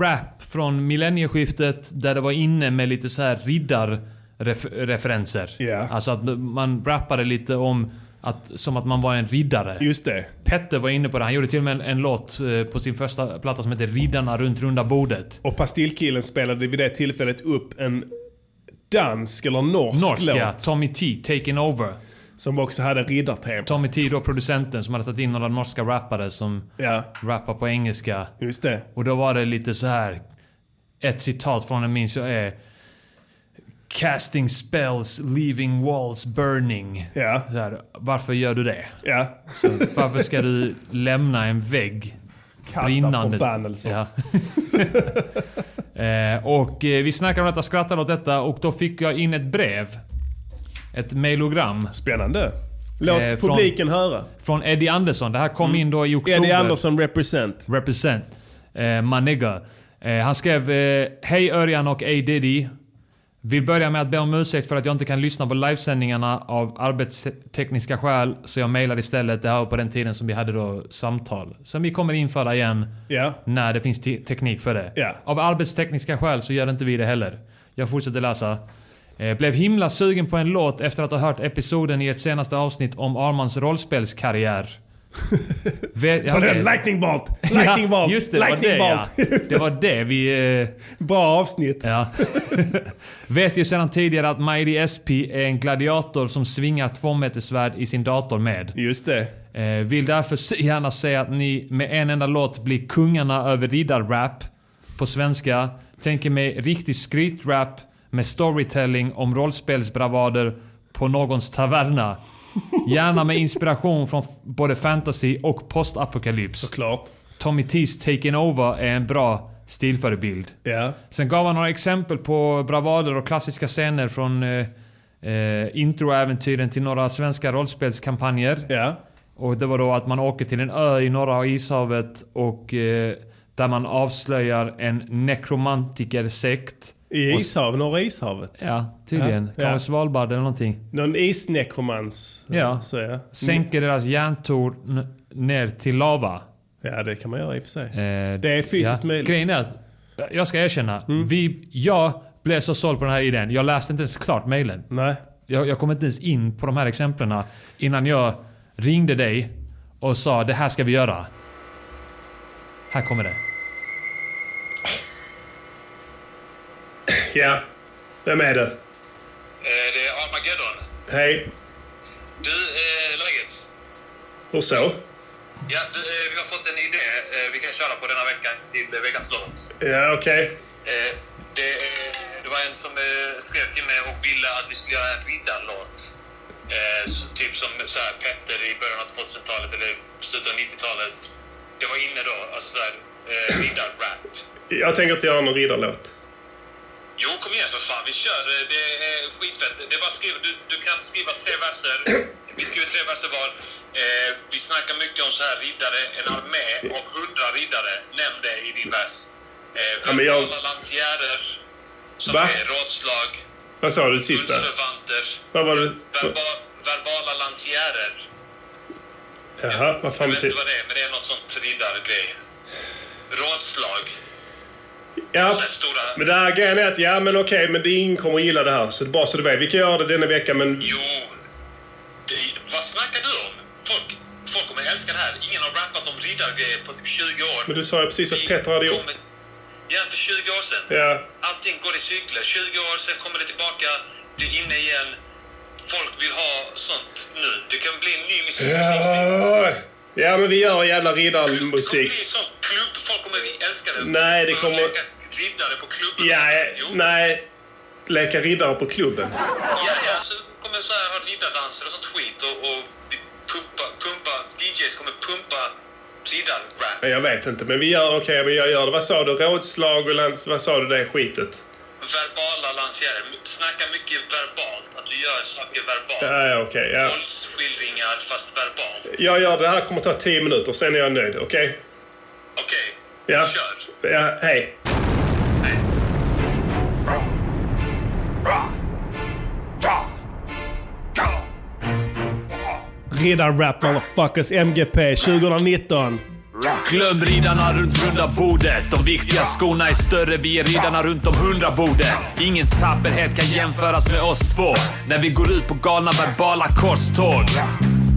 rap från millennieskiftet där det var inne med lite så här riddarreferenser.
Ja.
Alltså att man rappade lite om att, som att man var en riddare.
Just det.
Petter var inne på det. Han gjorde till och med en, en låt eh, på sin första platta som heter Riddarna runt runda bordet.
Och Pastillkillen spelade vid det tillfället upp en dansk eller norsk,
Norska,
låt.
Tommy T, Taking Over.
Som också hade riddartema.
Tommy T då producenten som hade tagit in några norska rappare som
Ja,
rappar på engelska.
just det.
Och då var det lite så här. Ett citat från den minns jag är... Casting spells, leaving walls burning.
Ja.
Så här, varför gör du det?
Ja.
Varför ska du lämna en vägg brinnande?
förbannelser.
Ja. eh, och eh, vi snackade om detta, skrattade åt detta och då fick jag in ett brev. Ett mailogram
Spännande. Låt
Eh, från-
publiken höra.
från Eddie Andersson. Det här kom in då i oktober.
Mm. Eddie Andersson represent.
Represent. Eh, my nigga. Eh, han skrev eh, Hej Örjan och A Diddy. Vill börja med att be om ursäkt för att jag inte kan lyssna på livesändningarna av arbetstekniska skäl. Så jag mejlade istället. Det här var på den tiden som vi hade då samtal. Som vi kommer införa igen.
Ja.
När det finns te- teknik för det.
Ja.
Av arbetstekniska skäl så gör inte vi det heller. Jag fortsätter läsa. Eh, Blev himla sugen på en låt efter att ha hört episoden i ert senaste avsnitt om Armans rollspelskarriär. Vet-
På
ja,
den
det-
lightning bolt! Lightning bolt!
Just det, det var
lightning
det, ja.
bolt!
det var det vi... eh,
Bra avsnitt.
Ja. Vet ju sedan tidigare att Mighty SP är en gladiator som svingar tvåmetersvärd i sin dator med.
Just det.
Eh, vill därför se- gärna säga att ni med en enda låt blir kungarna över riddarrap på svenska. Tänker mig riktig skrytrap med storytelling om rollspelsbravader på någons taverna. Gärna med inspiration från f- både fantasy och postapokalyps.
Klart.
Tommy T's Taking Over är en bra stilförebild.
Ja.
Sen gav han några exempel på bravader och klassiska scener från eh, eh, introäventyren till några svenska rollspelskampanjer.
Ja.
Och det var då att man åker till en ö i norra ishavet och eh, Där man avslöjar en nekromantikersekt.
I ishav, norra ishavet.
Ja, tydligen.
Ja, ja.
Kanske Svalbard eller någonting.
Någon isnekromans.
Ja.
Så ja.
Sänker deras järntorn ner till lava.
Mm. ja, det kan man göra i och för sig.
Eh,
Det är fysiskt möjligt. Mm.
Grejen är att, jag ska erkänna, vi, jag blev så såld på den här idén. Jag läste inte ens klart mejlen.
Nej.
Jag, jag kom inte ens in på de här exemplen innan jag ringde dig och sa det här ska vi göra. Här kommer det.
Ja. Vem är det?
Eh, Det är Armageddon.
Hej.
Du, eh, läget?
Hur så?
Ja, du, eh, vi har fått en idé eh, vi kan köra på denna veckan till eh, veckans låt.
Ja, okej.
Eh, det, eh, det var en som eh, skrev till mig och ville att vi skulle göra en riddarlåt. Eh, så, typ som så här, Petter i början av 2000-talet eller slutet av 90-talet. Det var inne då, alltså såhär eh, riddarrap.
Jag tänker inte göra någon riddarlåt.
Jo, kom igen för fan, vi kör. eh, Det är skitfett. Det är bara skriv, du, du kan skriva tre verser. Vi skriver tre verser var. Eh, vi snackar mycket om så här riddare, en armé av hundra riddare. Nämn det i din vers. Eh,
Ja, men jag-
alla lansjärer som
Va?
är rådslag,
Vad sa du det sista?
bundsförvanter,
Vad var det?
verba, verbala lansjärer.
Jaha, vad
Jag
fan
vet
betyder
inte vad det är, men det är något sånt riddargrej. Rådslag.
Ja,
Så här stora...
men det här grejen är att ja, men okej, men det är ingen kommer att gilla det här. Så det är bara så du vet. Vi kan göra det denna veckan, men...
Jo, det, vad snackar du om? Folk, folk kommer älska det här. Ingen har rappat om riddargrejer på typ 20 år.
Men du sa ju precis att Petter hade gjort...
Kommer- Ja, för 20 år sedan.
Ja.
Allting går i cykler. 20 år, sen kommer det tillbaka. Det är inne igen. Folk vill ha sånt nu. Det kan bli en ny musik.
Ja, men vi gör jävla
Det kommer
riddarmusik.
bli en sån klubb. Folk kommer älska det.
Nej, det
Man
kommer-
leka Riddare på klubben.
Ja,
Jo.
nej. Leka riddare på klubben.
Ja, ja, så kommer så här ha riddardanser och sånt skit och, och pumpa, pumpa, DJs kommer pumpa riddarrap.
Nej, Jag vet inte, men vi gör... Okej, men jag gör det. Vad sa du? Rådslag och... lan- Vad sa du det skitet?
Verbala lansjärer, snacka mycket verbalt, att du gör saker verbalt.
Ja, ja, okej. ja.
Våldsskildringar fast verbalt.
Jag gör det här. kommer ta tio minuter, sen är jag nöjd. Okej?
Okej,
Ja.
kör.
Ja, hej. Riddarrap motherfuckers, MGP 2019.
Glöm riddarna runt runda bordet. De viktiga skorna är större, vi är riddarna runt om hundra borden. Ingens tapperhet kan jämföras med oss två. När vi går ut på galna verbala korståg.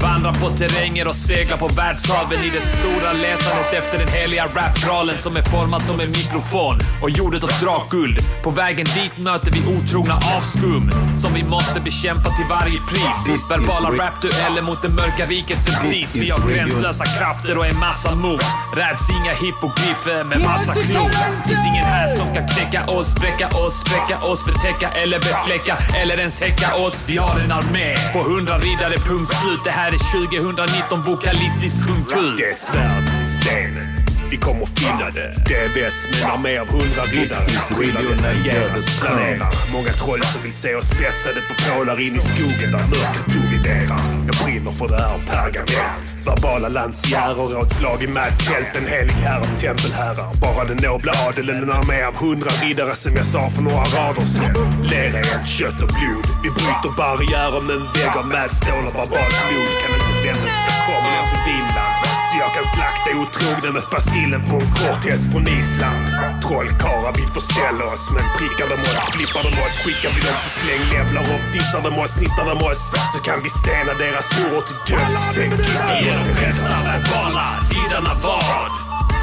Vandrar på terränger och seglar på världshaven i det stora letandet efter den heliga rapgralen som är formad som en mikrofon och gjordet av drakguld. På vägen dit möter vi otrogna avskum som vi måste bekämpa till varje pris.
This
Verbala
is-
rapdueller mot det mörka rikets
This
MCs. Vi
is
har
radio.
gränslösa massa krafter och en massa mod. Räds inga hippogriffer med massa klor. Finns ingen här som kan knäcka oss, spräcka oss, spräcka oss, förtäcka eller befläcka eller ens häcka oss. Vi har en armé på hundra riddare, punkt slut. Det här är 2019 vokalistisk kung fu.
Det är svärdet i stenen. Vi kommer finna det. Det är väst med en armé av hundra riddare.
This is
Riddare
regional
regeras,
Göteborg.
planerar. Många troll som vill se oss spetsade på pålar in i skogen där mörkret dominerar. Jag brinner för det här pergament. Verbala lansjärer, rådslag i märktält. En helig här av tempelherrar. Bara den nobla adeln, en armé av hundra riddare som jag sa för några rader sen. Lera, eld, kött och blod. Vi bryter barriärer med en vägg av mätstål och verbalt mod. Kan inte vänta så kommer jag från Finland. Så jag kan slakta otrogna med pastillen på en kort häst från Island. Trollkarlar vill förställa oss, men prickar de oss, flippar de oss, skickar vi dem till släng, levlar upp, dissar de oss, snittar de oss, så kan vi stena deras horor till döds. Sen kickar
Vi
vi
är
oss
de
till
bästa
resten.
verbala, riddarna vad?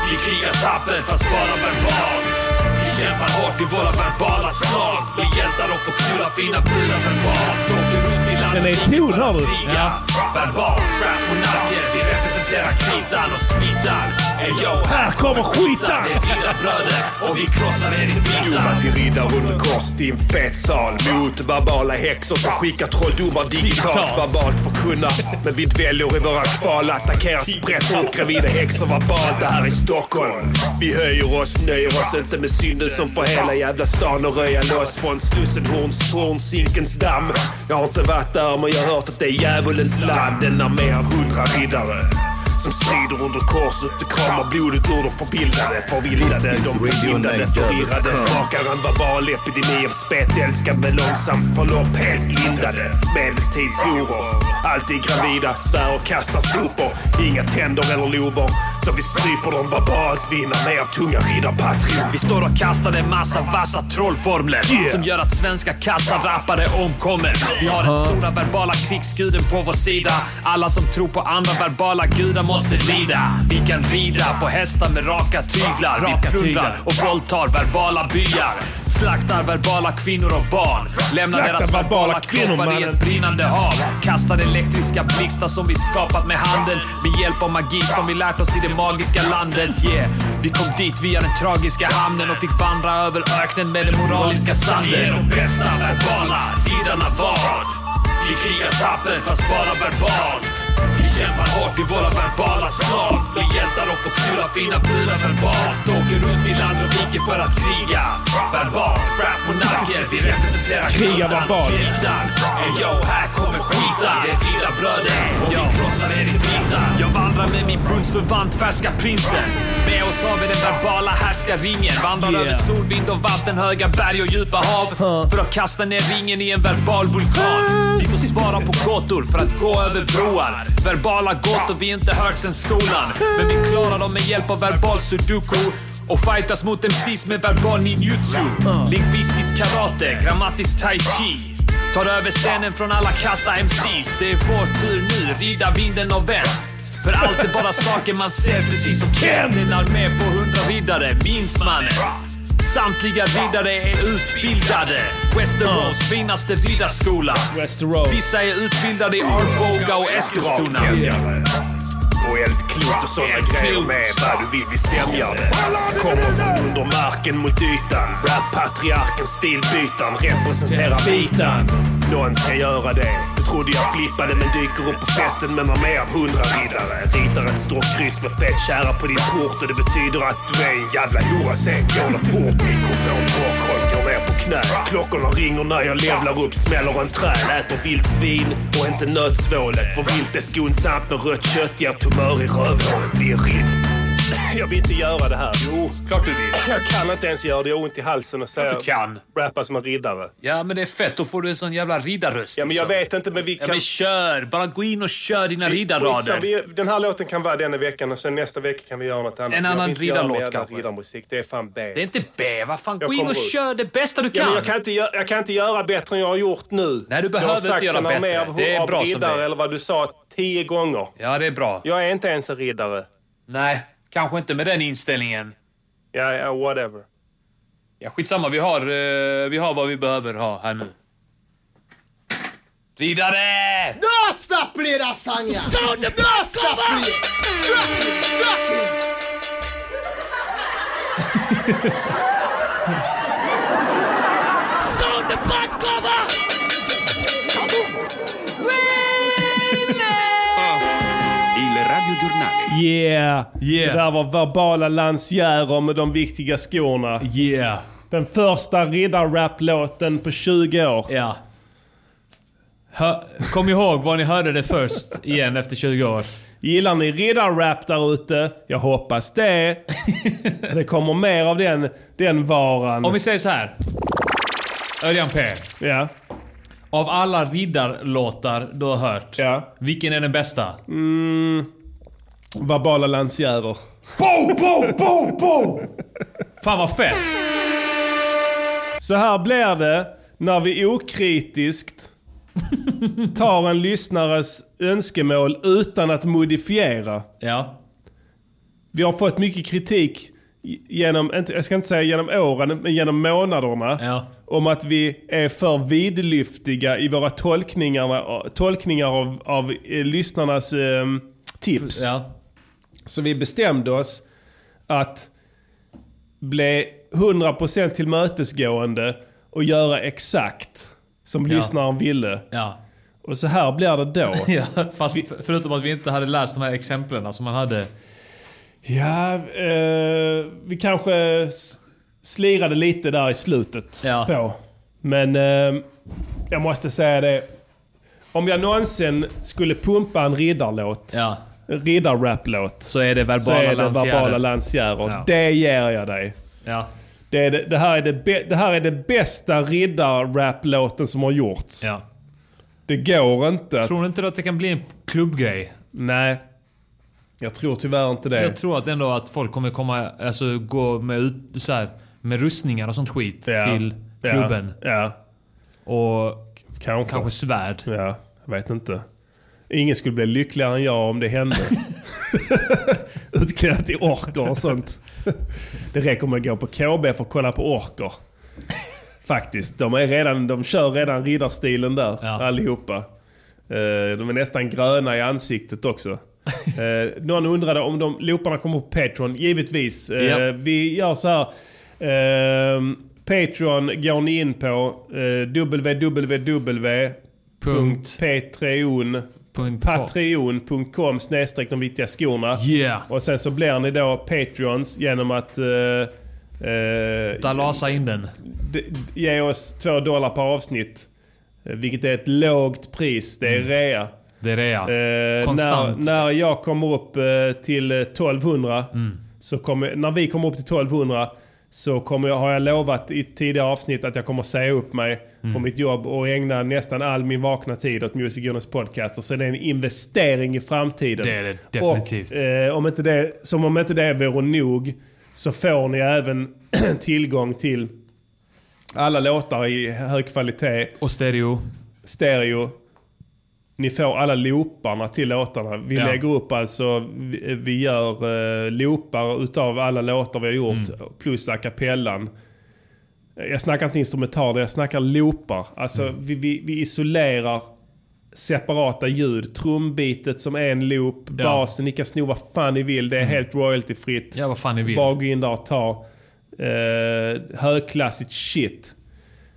Vi krigar tappert fast bara verbalt. Vi kämpar hårt i våra verbala slag. Blir hjältar och får knulla fina brudar verbalt. Åker runt i landet
Den är
riket
ton,
för att
hör du?
kriga. Verbalt, rap och nacke. Vi representerar kritan och smittan. Ey yo, här kommer skitan! Det är riddarbröder och vi krossar er i bitar.
Domar till riddare under korset i en fet sal Mot verbala häxor som skickar trolldomar digitalt Verbalt förkunnar Men vi dväljer i våra kval Attackerar, sprätter upp gravida häxor verbalt Det här är Stockholm Vi höjer oss, nöjer oss inte med synden som får hela jävla stan att röja loss Från Slussenhorns torn, Zinkens damm Jag har inte varit där men jag har hört att det är djävulens land En armé av hundra riddare Som strider under korset och kramar blodet ur de förbildade, förvildade, de förblindade, förvirrade. Smakar en verbal epidemi av spetälska med långsamt förlopp, helt lindade. Medeltidshoror, alltid gravida, svär och kastar sopor. Inga tänder eller lover, så vi stryper dem verbalt. Vinner mer av tunga riddarpatria.
Vi står och kastar en massa vassa trollformler
Yeah.
som gör att svenska kassarappare omkommer. Vi har den
Huh.
stora verbala krigsguden på vår sida. Alla som tror på andra verbala gudar måste lida. Vi kan rida på hästar med raka tyglar.
Raka
Vi plundrar
tyglar.
och våldtar verbala byar. Slaktar verbala kvinnor och barn. Lämnar
Slaktar
deras verbala,
verbala kvinnor,
kroppar i
mannen.
ett brinnande hav. Kastar elektriska blixtar som vi skapat med handen. Med hjälp av magi som vi lärt oss i det magiska landet. Yeah. Vi kom dit via den tragiska hamnen och fick vandra över öknen med den moraliska sanden.
Vi är de
bästa verbala riddarna vad? Vi krigar tappert fast bara verbalt. Vi kämpar hårt i våra verbala slag. Blir hjältar och får knulla fina prylar verbalt. Åker runt i land och rike för att kriga. Verbalt, rap monarker, vi representerar
Kriga
kundan,
verbalt.
Svitan. Ey yo, här kommer skiten. Det är riddarbröder och vi krossar er i bitar. Jag vandrar med min brunnsförvant färska prinsen. Med oss har vi den verbala härskarringen. Vandrar
Yeah.
över solvind och vatten, höga berg och djupa hav. För att kasta ner ringen i en verbal vulkan. Vi får svara på gåtor för att gå över broar. Verbala gåtor vi inte hört sen skolan. Men vi klarar dem med hjälp av verbal sudoku. Och fightas mot MCs med verbal ninjutsu. Lingvistisk karate, grammatisk tai chi. Tar över scenen från alla kassa MCs. Det är vår tur nu, rida vinden och vänt. För allt är bara saker man ser precis som Ken. En armé på hundra riddare, minst mannen. Samtliga riddare är utbildade. Westeros finaste riddarskola. Vissa är utbildade i Arboga och Eskilstuna.
Raktändare. Och eldklot och såna grejer med. Vad du vill vi sämjar det. Kommer från under marken mot ytan. Rap-patriarken stilbytaren representerar bitan. Någon ska göra det. Jag trodde jag flippade men dyker upp på festen med mer av hundra riddare. Ritar ett stort kryss med fett kära på din port och det betyder att du är en jävla hora. Sen går det fort. Mikrofon, Rockholm går ner på knä. Klockorna ringer när jag levlar upp, smäller en träd. Äter vilt svin och inte nötsvålet. För vilt är skonsamt med rött kött ger tumör i rövhålet. Vi är ridd. Jag vill inte göra det här. Jo, klart du vill. Jag kan inte ens göra det. Jag har ont i halsen och säga...
du kan.
Rappa som en riddare.
Ja, men det är fett. Då får du en sån jävla riddarröst.
Ja, men jag vet inte, men vi
Ja,
kan...
men kör! Bara gå in och kör dina
Skitsamma,
riddarrader.
vi- Den här låten kan vara denna veckan och sen nästa vecka kan vi göra något annat.
En
Jag
annan
vill inte göra
riddarlåt
mer jävla
kanske.
Riddarmusik. Det är fan B.
Det är inte B, vad fan.
Jag
Gå in
kommer
och
ut.
kör det bästa du
Ja,
kan.
men jag, kan inte, gö- jag kan inte göra bättre än jag har gjort nu.
Nej, du
jag
behöver
har
inte
sagt
göra
den här
bättre.
Med av,
Det är
av
bra som
riddare,
det är.
eller vad du sa, tio gånger.
Ja, det är bra.
Jag är inte ens en riddare.
Nej, kanske inte med den inställningen.
Ja, ja whatever.
Ja, skitsamma. Vi har, eh, vi har vad vi behöver ha här nu. Riddare!
No, stop play that song, yeah. No, stop play. Drop it, drop it.
Sound the butt cover.
Il radiogiornale.
Yeah. Det där var verbala lansjärer med de viktiga skorna.
Yeah.
Den första riddarrap-låten på 20 år.
Ja. Hör, kom ihåg var ni hörde det först igen efter 20 år.
Gillar ni riddarrap där ute? Jag hoppas det. det kommer mer av den, den varan.
Om vi säger så här. Örjan P.
Ja.
Av alla riddarlåtar du har hört, vilken är den bästa?
Mm, verbala lansjärer.
Boom, boom, boom, boom! Fan vad fett!
Så här blir det när vi okritiskt tar en lyssnares önskemål utan att modifiera.
Ja.
Vi har fått mycket kritik i- genom, inte- jag ska inte säga genom åren, men genom månaderna. Om att vi är för vidlyftiga i våra tolkningar, tolkningar av, av eh, lyssnarnas eh, tips. Så vi bestämde oss att bli 100% tillmötesgående och göra exakt som
Ja.
lyssnaren ville.
Ja.
Och så här blir det då.
ja fast för- förutom att vi inte hade läst de här exemplen som man hade.
Ja, eh, vi kanske s- slirade lite där i slutet
Ja.
på. Men eh, jag måste säga det. Om jag någonsin skulle pumpa en riddarlåt
Ja.
riddarrap-låt.
Så är det verbala
Så är det
lansjärer.
verbala lansjärer.
Ja.
Det ger jag dig.
Ja.
Det, är det, det, här är det, bä- det här är det bästa riddarrap-låten som har gjorts.
Ja.
Det går inte att...
Tror du inte att det kan bli en klubbgrej?
Nej. Jag tror tyvärr inte det.
Jag tror att ändå att folk kommer komma, alltså gå med, ut, så här, med rustningar och sånt skit
Ja.
till
Ja.
klubben.
Ja.
Och
kanske,
kanske svärd.
Ja, jag vet inte. Ingen skulle bli lyckligare än jag om det hände. Utklädda till orker och sånt. Det räcker med att gå på KB för att kolla på orker. Faktiskt. De, är redan, de kör redan riddarstilen där, allihopa. Eh, De är nästan gröna i ansiktet också. Eh, Någon undrade om de looparna kommer på Patreon. Givetvis. Eh,
Ja.
Vi gör så här. Ehm, Patreon går ni in på eh, www.patreon.com snedstreck de viktiga skorna.
Yeah.
Och sen så blir ni då Patreons genom att eh, eh,
Dalasa in den.
d- ge oss två dollar per avsnitt. Eh, Vilket är ett lågt pris. Det är rea.
Det är rea.
Eh, när,
Konstant.
när jag kommer upp eh, till eh, 1200,
Mm.
så kommer, när vi kommer upp till 1200 så kommer jag, har jag lovat i tidigare avsnitt att jag kommer säga upp mig
Mm.
från mitt jobb och ägna nästan all min vakna tid åt Music Journeys podcast. Och så det är en investering i framtiden.
Det är det definitivt.
Och, eh, om inte det, som om inte det vore nog så får ni även tillgång till alla låtar i hög kvalitet.
Och stereo.
Stereo. Ni får alla looparna till låtarna. Vi
Ja.
lägger upp alltså, vi, vi gör uh, loopar utav alla låtar vi har gjort.
Mm.
Plus a cappellan. Jag snackar inte instrumentaler, jag snackar loopar. Alltså
Mm.
vi, vi, vi isolerar separata ljud. Trumbitet som en loop,
Ja. Mm.
basen, ni kan sno vad fan ni vill. Det är helt royaltyfritt.
Ja, vad fan ni vill.
Bara gå in där och ta eh, högklassigt shit.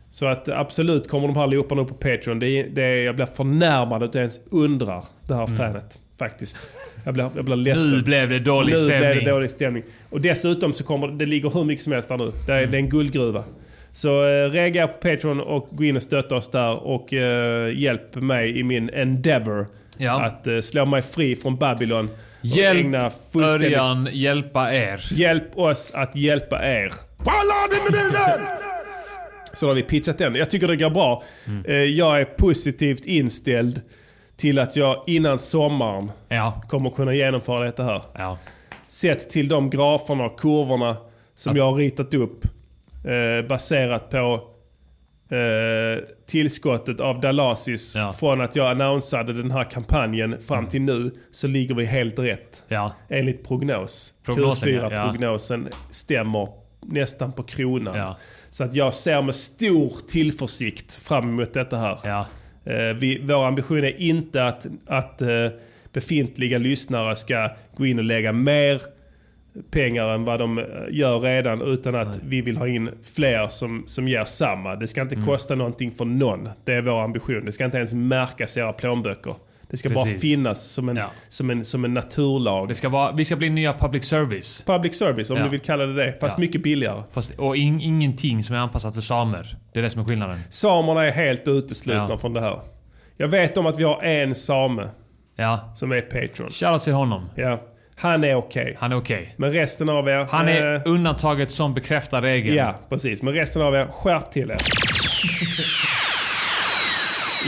Så att absolut kommer de här looparna upp på Patreon. Det är, det är, jag blir förnärmad att jag ens undrar det här
Mm.
fanet. Faktiskt. Jag blir, jag blir ledsen.
Nu blev det dålig
nu Blev
stämning.
det dålig stämning. Och dessutom så kommer det ligger hur mycket som helst där nu. Det
Mm.
är, det är en guldgruva. Så eh, reagera på Patreon och gå in och stötta oss där. Och eh, hjälp mig i min endeavor.
Ja.
Att eh, slå mig fri från Babylon. och ägna
Hjälp
fullständigt-
Örjan hjälpa er.
Hjälp oss att hjälpa er. Så då har vi pitchat den. Jag tycker det går bra. Eh, Jag är positivt inställd till att jag innan sommaren kommer kunna genomföra detta här. Sett till de graferna och kurvorna som jag har ritat upp eh, baserat på eh, tillskottet av Dalasis från att jag annonsade den här kampanjen fram till nu så ligger vi helt rätt.
Ja.
Enligt prognos.
Prognosen, ja. Ja.
Q4-prognosen stämmer nästan på kronan. Så att jag ser med stor tillförsikt fram emot detta här. Eh, vi, vår ambition är inte att, att eh, befintliga lyssnare ska gå in och lägga mer pengar än vad de eh, gör redan utan att vi vill ha in fler som, som ger samma. Det ska inte
Mm.
kosta någonting för någon. Det är vår ambition. Det ska inte ens märkas i era plånböcker. Det ska bara
Precis.
finnas som en, som en, som en naturlag.
Det ska vara, vi ska bli nya public service.
Public service, om
Ja.
du vill kalla det det. Fast
Ja.
mycket billigare.
Fast, och in, ingenting som är anpassat för samer. Det är det som är skillnaden.
Samerna är helt uteslutna
Ja.
från det här. Jag vet om att vi har en same som är Patreon.
Shoutout till honom.
Ja. Han är okej.
Han är okej.
Men resten av er...
Han är
eh,
undantaget som bekräftar regeln.
Ja, precis. Men resten av er, skärp till er.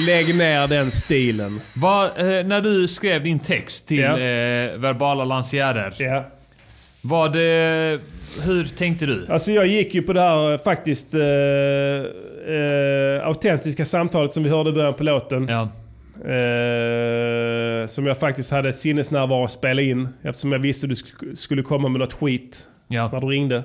Lägg ner den stilen.
Vad, eh, när du skrev din text till
Ja.
eh, verbala lansjärer.
Ja.
Vad det, hur tänkte du?
Alltså jag gick ju på det här eh, faktiskt eh, eh, autentiska samtalet som vi hörde i början på låten. Eh, som jag faktiskt hade sinnesnärvaro att spela in. Eftersom jag visste du sk- skulle komma med något skit när du ringde.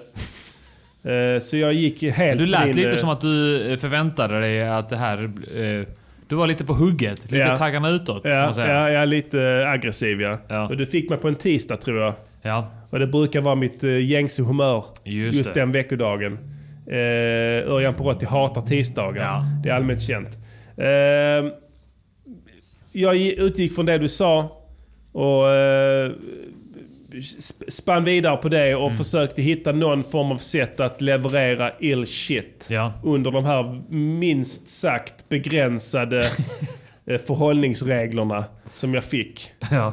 Eh, så jag gick helt
Du lät
min,
lite
eh,
som att du eh, förväntade dig att det här... Eh, du var lite på hugget. Lite
Ja.
taggarna utåt,
eh, Ja,
kan man säga.
Ja, jag är lite aggressiv ja. Och du fick mig på en tisdag tror jag. Och det brukar vara mitt eh, gängse humör
Just
just
det.
den veckodagen. Eh, Örjan Porotti hatar tisdagar. Det är allmänt känt. Eh, jag gi- utgick från det du sa och eh, sp- spann vidare på det
Mm.
och försökte hitta någon form av sätt att leverera ill shit under de här minst sagt begränsade eh, förhållningsreglerna som jag fick.
Ja.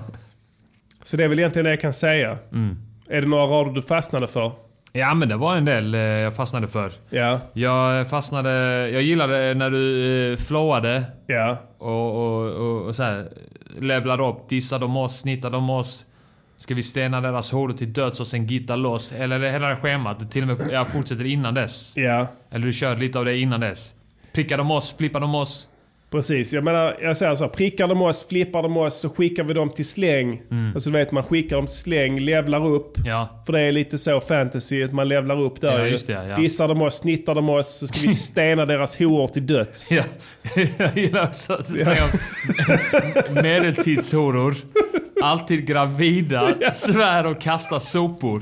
Så det är väl egentligen det jag kan säga.
Mm.
Är det några rader du fastnade för?
Ja men det var en del eh, jag fastnade för.
Ja.
Jag fastnade... Jag gillade när du eh, flowade.
Ja.
Och, och, och, och så här, levlade upp. Dissade om oss, snittade om oss. Ska vi stena deras horor till döds och sen gitta loss? Eller det hela det schemat. Du till och med jag fortsätter innan dess.
Ja.
Eller du körde lite av det innan dess. Prickade om oss, flippade om oss.
Precis, jag menar, jag säger så här, prickar de oss, flippar de oss så skickar vi dem till släng.
Mm.
Alltså du vet, man skickar dem till släng, levlar upp.
Ja.
För det är lite så fantasy, att man levlar upp där
Ja,
ju.
just det, ja.
Dissar de oss, snittar de oss, så ska vi stena deras horor till döds.
Ja, jag gillar också att du snackar om medeltidshoror. Alltid gravida, svär och kastar sopor.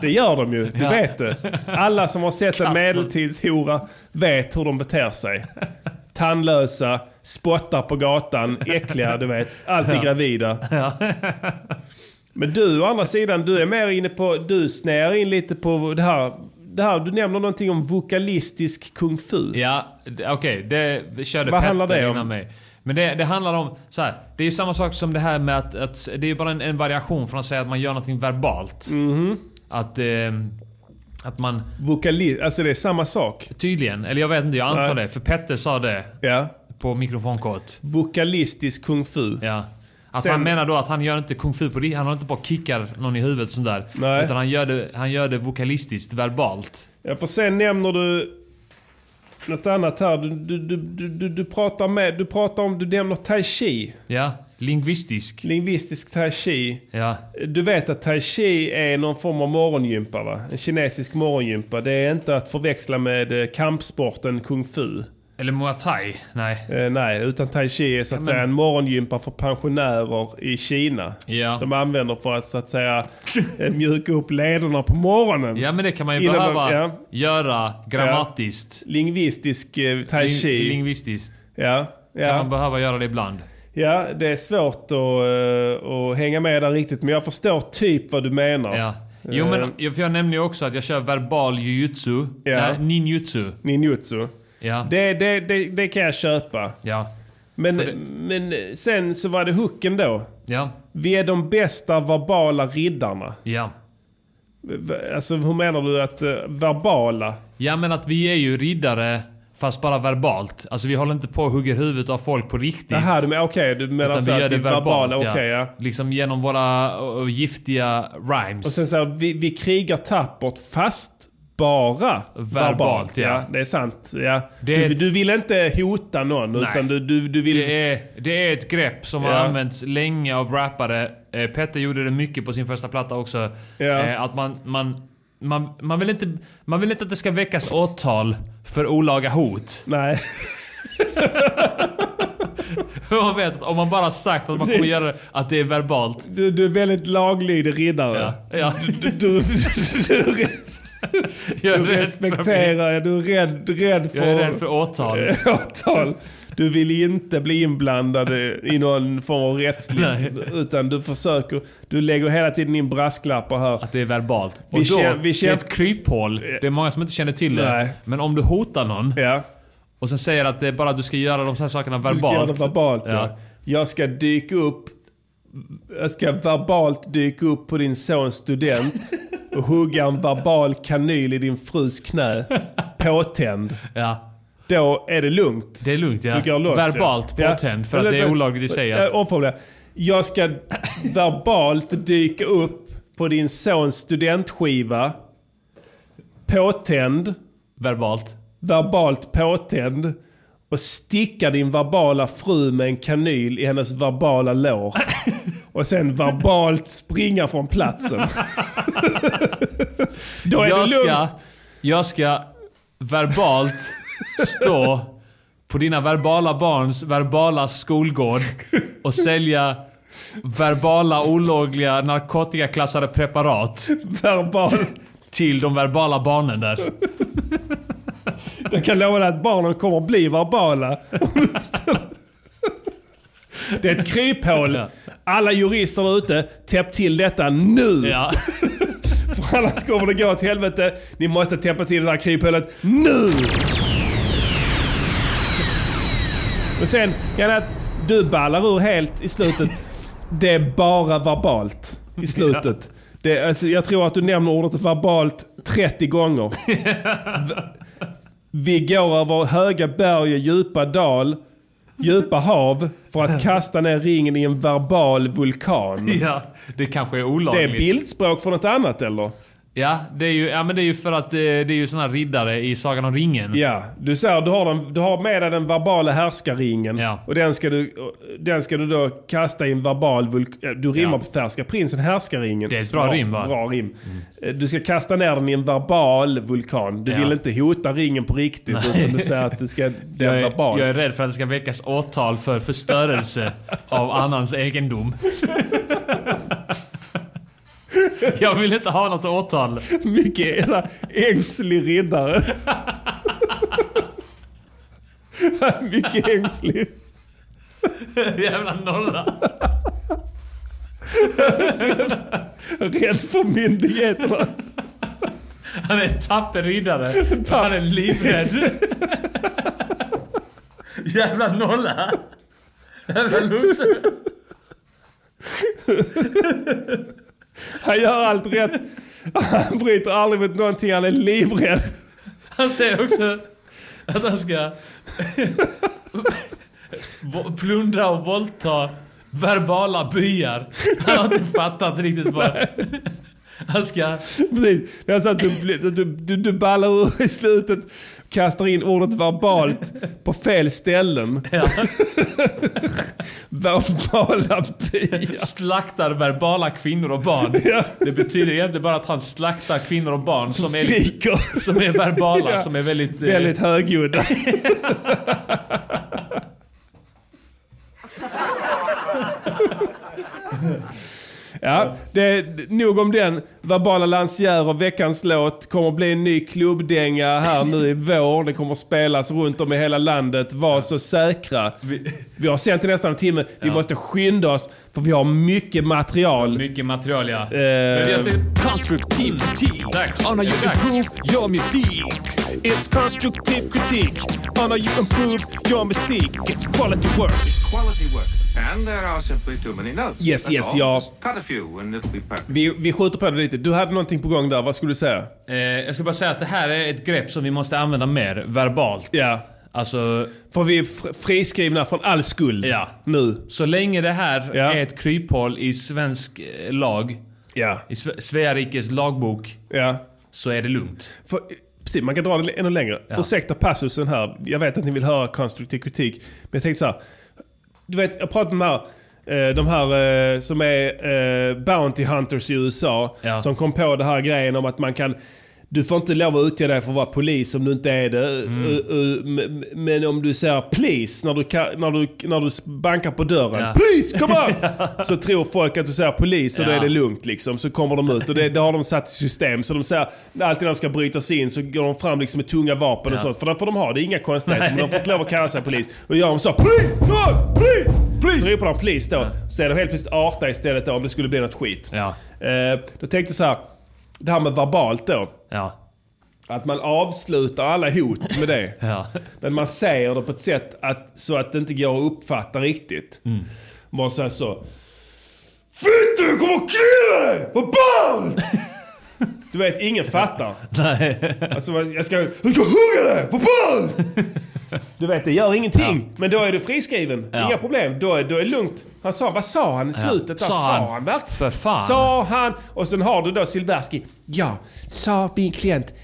Det gör de ju, du
Ja.
vet det. Alla som har sett en
Kastar.
medeltidshora vet hur de beter sig. Tandlösa, spottar på gatan, äckliga, du vet. Alltid
Ja.
gravida. Men du å andra sidan, du är mer inne på, du snäar in lite på det här. Det här du nämner någonting om vokalistisk kung fu.
Ja, d- okej. det körde
Vad
Petter
handlar det om?
innan mig. Men det, det handlar om så här. Det är ju samma sak som det här med att, att det är ju bara en, en variation från att säga att man gör någonting verbalt.
Mm-hmm.
Att, ehm, att man...
Vokalist, alltså det är samma sak?
Tydligen. Eller jag vet inte, jag antar
Nej.
det. För Petter sa det
Ja.
på mikrofonkort.
Vokalistisk kung fu.
Ja. Att
Sen-
han menar då att han gör inte kung fu på riktigt. Han har inte bara kickar någon i huvudet och sånt där.
Nej.
Utan han gör, det, han gör det vokalistiskt, verbalt.
Ja, för sen nämner du något annat här. Du, du, du, du, du, du pratar med, du pratar om, du nämner tai chi.
Ja, lingvistisk.
Lingvistisk tai chi.
Ja.
Du vet att tai chi är någon form av morgongympa va? En kinesisk morgongympa. Det är inte att förväxla med eh, kampsporten kung fu.
Eller muay thai. Nej.
Eh, nej, utan tai chi är så att
Ja, men-
säga en morgongympa för pensionärer i Kina.
Ja.
De använder för att så att säga eh, mjuka upp lederna på morgonen.
Ja men det kan man ju
Innan man-
behöva
ja.
göra grammatiskt.
Lingvistisk eh, tai
Ling-
chi.
lingvistiskt.
ja, ja.
Kan man behöva göra det ibland.
Ja, det är svårt att, eh, att hänga med där riktigt. Men jag förstår typ vad du menar.
Ja. Jo men jag- för jag nämnde ju också att jag kör verbal jujutsu.
Eh. Ja.
Nej, ninjutsu.
Ninjutsu.
Ja.
Det, det, det, det kan jag köpa.
Ja.
Men,
För det-
men sen så var det hooken då.
Ja.
Vi är de bästa verbala riddarna.
Ja.
V- Alltså hur menar du att eh, verbala?
Ja men att vi är ju riddare fast bara verbalt. Alltså vi håller inte på och hugger huvudet av folk på riktigt.
Jaha, du menar- okej, du menar så att det är verbala, okej, ja.
Liksom genom våra ö, giftiga rhymes.
Och sen så här, vi, vi krigar tappert fast bara verbalt.
Verbalt, ja.
Det är sant. Ja.
Det är
du,
ett-
du vill inte hota någon
Nej.
utan du, du, du vill...
Det är, det är ett grepp som
Ja.
har använts länge av rappare. Eh, Petter gjorde det mycket på sin första platta också.
Ja.
Eh, att man, man, man, man, vill inte, man vill inte att det ska väckas åtal för olaga hot.
Nej.
För man vet att om man bara sagt att man kommer göra det, att det är verbalt.
Du, du är väldigt laglydig riddare.
Ja.
Du, du, du, du,
Jag är
du
rädd
respekterar, ja, du är rädd, rädd för...
Jag är rädd för åtal.
åtal. Du vill inte bli inblandad i någon form av rättsligt. utan du försöker, du lägger hela tiden in brasklappar här.
Att det är verbalt.
Vi
Och då,
kä- vi
det
kä-
är ett kryphål. Det är många som inte känner till det.
Nej.
Men om du hotar någon
Ja.
och sen säger att det är bara att du ska göra de här sakerna verbalt.
Du ska göra det verbalt ja.
Ja.
Jag ska dyka upp, jag ska verbalt dyka upp på din sons student och hugga en verbal kanyl i din frus knä. Påtänd.
Ja.
Då är det lugnt.
Det är lugnt ja.
Du går loss,
verbalt
ja.
påtänd för
Ja.
att det är
Men-
olagligt i sig.
Äh,
Att,
omformulera. Jag ska verbalt dyka upp på din sons studentskiva. Påtänd.
Verbalt.
Verbalt påtänd. Och sticka din verbala fru med en kanyl i hennes verbala lår. Och sen verbalt springa från platsen. Då är
jag,
det lugnt.
ska, jag ska verbalt stå på dina verbala barns verbala skolgård och sälja verbala olagliga narkotikaklassade preparat
Verbal.
till de verbala barnen där.
Jag kan lova dig att barnen kommer att bli verbala. Det är ett kryphål. Alla jurister där ute, täpp till detta nu!
Ja.
För annars kommer det gå åt helvete. Ni måste täppa till det där kryphålet nu! Men sen, grejen är att du ballar ur helt i slutet. Det är bara verbalt i slutet. Det, är- alltså, jag tror att du nämner ordet verbalt 30 gånger. V- Vi går över höga berg och djupa dal, djupa hav för att kasta ner ringen i en verbal vulkan.
Ja, det kanske är
Det
olagligt.
är bildspråk för något annat eller?
Ja, det är ju, ja, men det är ju för att eh, det är ju såna här riddare i Sagan om ringen.
Ja, du säger du har, den, du har med dig den verbala härskarringen. Och den ska, du, den ska du då kasta i en verbal vulkan. Du rimmar på färska prinsen, härskarringen.
Det är ett bra rim, va? Mm.
Bra rim. Eh, Du ska kasta ner den i en verbal vulkan. Du
Ja.
vill inte hota ringen på riktigt.
Nej.
Utan du säger att du ska... Den
Jag är,
verbalt.
jag är rädd för att det ska väckas åtal för förstörelse av annans egendom. Jag vill inte ha något åtal.
Micke är en ängslig riddare. Micke är ängslig.
Jävla nolla.
Rädd för myndigheterna.
Han är en tapper riddare. Han är livrädd. Jävla nolla. Jävla loser.
Han gör allt rätt. Han bryter aldrig mot någonting. Han är livrädd.
Han säger också att han ska vo- plundra och våldta verbala byar. Han har inte fattat riktigt vad... Han ska...
Precis. Det är så att du, du, du, du ballar ur i slutet. Kastar in ordet verbalt på fel ställen. Verbala byar.
Slaktar verbala kvinnor och barn. Det betyder egentligen bara att han slaktar kvinnor och barn som,
skriker.
är, som är verbala,
Ja.
som är väldigt... eh,
Väldigt högljudda. Ja, det är nog om den. Verbala Lancière och veckans låt kommer bli en ny klubbdänga här nu i vår. Den kommer spelas runt om i hela landet. Var så säkra. Vi, har sänt i nästan en timme. Vi måste skynda oss för vi har mycket material.
Mycket material ja.
Eh,
Konstruktiv kritik. On how you improve your music. It's constructive critique. On how you improve your music. It's quality work.
Quality work. And there are simply too many notes.
Yes,
That's
yes,
all.
ja.
Just Cut a few and it'll be perfect.
vi, vi skjuter på det lite. Du hade någonting på gång där. Vad skulle du säga?
Eh, jag ska bara säga att det här är ett grepp som vi måste använda mer verbalt.
Ja.
Alltså...
För vi är fr- friskrivna från all skuld
Ja.
nu.
Så länge det här
Ja.
är ett kryphål i svensk eh, lag,
Ja.
i Sve- Svea rikes lagbok,
Ja.
så är det lugnt.
För, precis, man kan dra den ännu längre.
Ja.
Ursäkta passusen här. Jag vet att ni vill höra konstruktiv kritik. Men jag tänkte så här. Du vet, jag pratade med de här, eh, de här eh, som är eh, Bounty Hunters i USA.
Ja.
Som kom på den här grejen om att man kan... Du får inte lov att utge dig för att vara polis om du inte är det.
Mm.
Eh, eh, men- Men om du säger please när du, ka- när du, när du bankar på dörren.
Ja.
Please, come on! Så tror folk att du säger polis och då
Ja.
är det lugnt liksom. Så kommer de ut och det, det har de satt i system. Så de säger, alltid när de ska bryta sig in så går de fram liksom med tunga vapen och
Ja.
sånt. För det får de ha, det är inga konstigheter. Men de får inte lov att kalla sig polis. Och gör de så, please, come on, please, please! Så ropar de please då. Så är de helt plötsligt arta istället då om det skulle bli något skit. Eh, då tänkte jag så här, det här med verbalt då.
Ja.
Att man avslutar alla hot med det.
Ja.
Men man säger det på ett sätt att, så att det inte går att uppfatta riktigt.
Mm.
Bara säger så. Fitta jag kommer att killa dig! Vad ballt! Du vet, ingen fattar.
Nej.
Alltså jag ska, jag ska hugga dig! Vad ballt! Du vet, det gör ingenting. Men då är du friskriven.
Ja.
Inga problem. Då är, då är det lugnt. Han sa, vad sa han i
Ja.
slutet?
Sa
Där? Sa
han?
han, verkligen?
För fan.
Sa han? Och sen har du då Silbersky. Ja, sa min klient.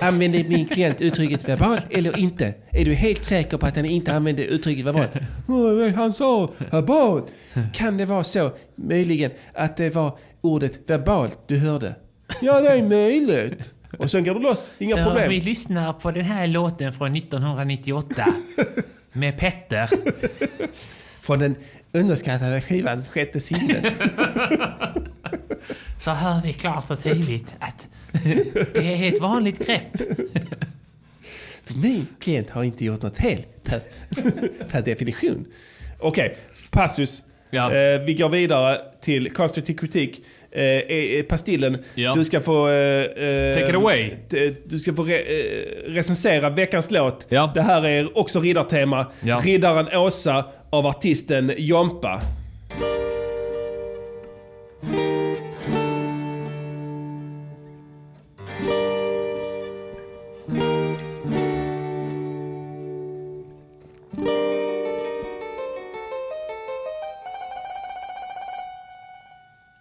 Använde min klient uttrycket verbalt eller inte? Är du helt säker på att han inte använde uttrycket verbalt? "Åh, Han sa verbalt. Kan det vara så, möjligen, att det var ordet verbalt du hörde? Ja, det är möjligt. Och sen går du loss. Inga
Så
problem.
vi lyssnar på den här låten från 1998 med Petter.
Från den underskattade skivan Sjätte sinnet.
Så hör vi klart och tydligt att det är ett vanligt grepp.
Min klient har inte gjort något fel per, per definition. Okej, passus.
Ja.
Eh, vi går vidare till konstruktiv kritik. Eh, eh, pastillen,
Ja.
du ska få... eh, eh,
Take it away.
t- Du ska få re, eh, recensera veckans låt.
Ja.
Det här är också riddartema.
Ja.
Riddaren Åsa av artisten Jompa.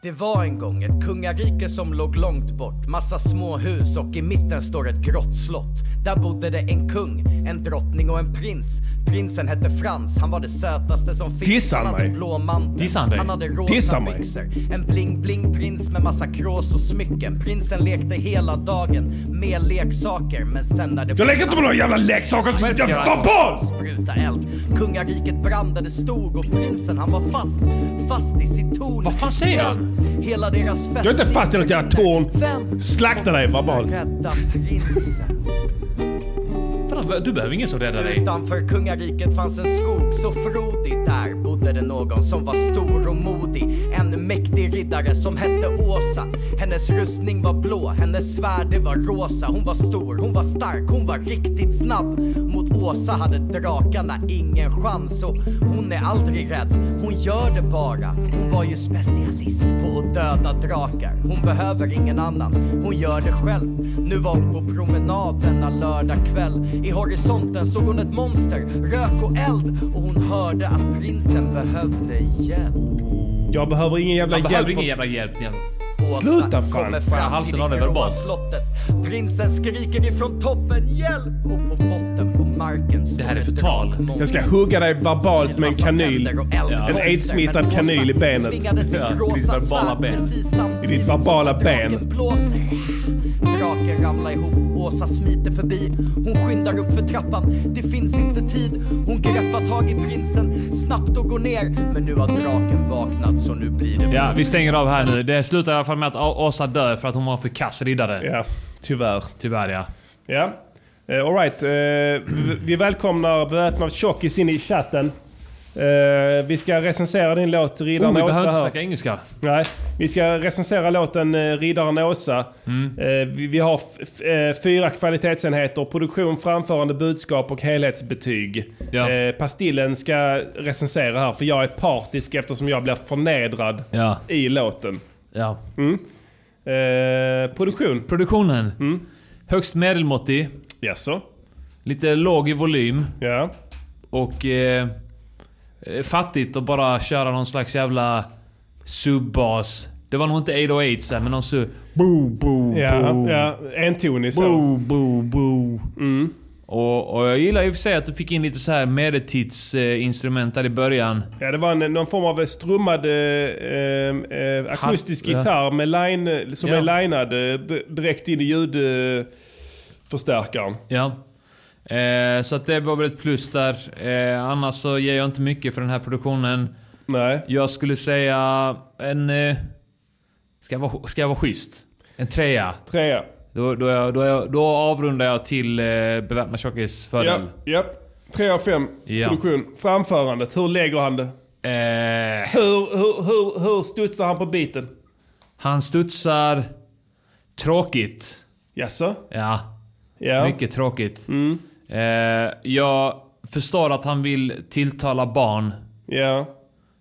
Det var en gång ett kungarike som låg långt bort. Massa små hus och i mitten står ett grått slott. Där bodde det en kung, en drottning och en prins. Prinsen hette Frans, han var det sötaste som finns.
Dissar
han hade
mig.
blå mantel,
Dissar dig.
han hade
Dissar
rosa
mig.
byxor. En bling-bling prins med massa krås och smycken. Prinsen lekte hela dagen med leksaker, men sen när det...
Jag leker inte med några jävla leksaker, så jag tar boll!
Spruta eld. Kungariket brann där det stod och prinsen han var fast, fast i sitt torn. Vad fan
säger han?
Hela deras fest.
Jag är inte fast i något jävla torn. Slakta dig verbalt.
Rädda prinsen.
Du behöver ingen som räddar dig.
Utanför kungariket fanns en skog så frodig. Där bodde det någon som var stor och modig. En mäktig riddare som hette Åsa. Hennes rustning var blå, hennes svärd det var rosa. Hon var stor, hon var stark, hon var riktigt snabb. Mot Åsa hade drakarna ingen chans och hon är aldrig rädd. Hon gör det bara. Hon var ju specialist på att döda drakar. Hon behöver ingen annan. Hon gör det själv. Nu var hon på promenad denna lördag kväll. I horisonten såg hon ett monster, rök och eld och hon hörde att prinsen behövde hjälp.
Jag behöver ingen jävla
Han
hjälp.
behöver
ingen jävla hjälp.
Sluta fan.
kommer fram till det gråa slottet. Prinsen skriker ifrån toppen hjälp och på botten på marken står
Det här är
ett
förtal.
drakmonster.
Jag ska hugga dig verbalt med en kanyl. En aidssmittad kanyl i benet.
Svingade sitt
I ditt
rosa
verbala
svärd
ben.
precis samtidigt
I ditt verbala ben.
blåser. Draken ramlar ihop, Åsa smiter förbi. Hon skyndar upp för trappan, det finns inte tid. Hon greppar tag i prinsen snabbt och går ner. Men nu har draken vaknat så nu blir det
Ja, vi stänger av här nu. Det slutar i alla fall med att Å- Åsa dör för att hon var en för kass riddare.
Ja, tyvärr.
Tyvärr ja.
Ja. Eh, all right. Eh, v- vi välkomnar beväpnad tjockis in i chatten. Eh, vi ska recensera din låt
Oh,
Riddaren
vi
Åsa
behöver inte
här.
snacka engelska.
Nej, vi ska recensera låten eh, Riddaren Åsa.
Mm.
Eh, vi, vi har f- f- eh, fyra kvalitetsenheter. Produktion, framförande, budskap och helhetsbetyg. Eh, Pastillen ska recensera här för jag är partisk eftersom jag blir förnedrad
Ja.
i låten.
Ja.
Mm. Eh, produktion.
Produktionen.
Mm.
Högst medelmåttig.
Jaså?
Lite låg i volym.
Ja.
Och... Eh, eh, fattigt att bara köra någon slags jävla subbas. Det var nog inte 808 så här, men någon sub... Boo, boo,
Ja,
boo.
ja, entonig så. Mm.
Boo, boo, boo. Och, och jag gillar i och för sig att du fick in lite så här medeltidsinstrument där i början.
Ja, det var en, någon form av strummad eh, ehm, eh, akustisk
Ja.
gitarr med line, som
Ja.
är linad eh, d- direkt in i ljudförstärkaren.
Ja. Eh, så att det var väl ett plus där. Eh, annars så ger jag inte mycket för den här produktionen.
Nej.
Jag skulle säga en... Eh, ska, jag vara, ska jag vara schysst? En trea.
Trea.
Då, då, är jag- då, är jag- då avrundar jag till eh, Beväpnad Tjockis fördel.
ja. Tre av fem
Ja.
produktion. Framförandet, hur lägger han det?
Eh,
Hur, hur, hur, hur studsar han på biten?
Han studsar... Tråkigt.
Jaså?
Ja.
Ja.
Mycket tråkigt. Eh, jag förstår att han vill tilltala barn.
Ja.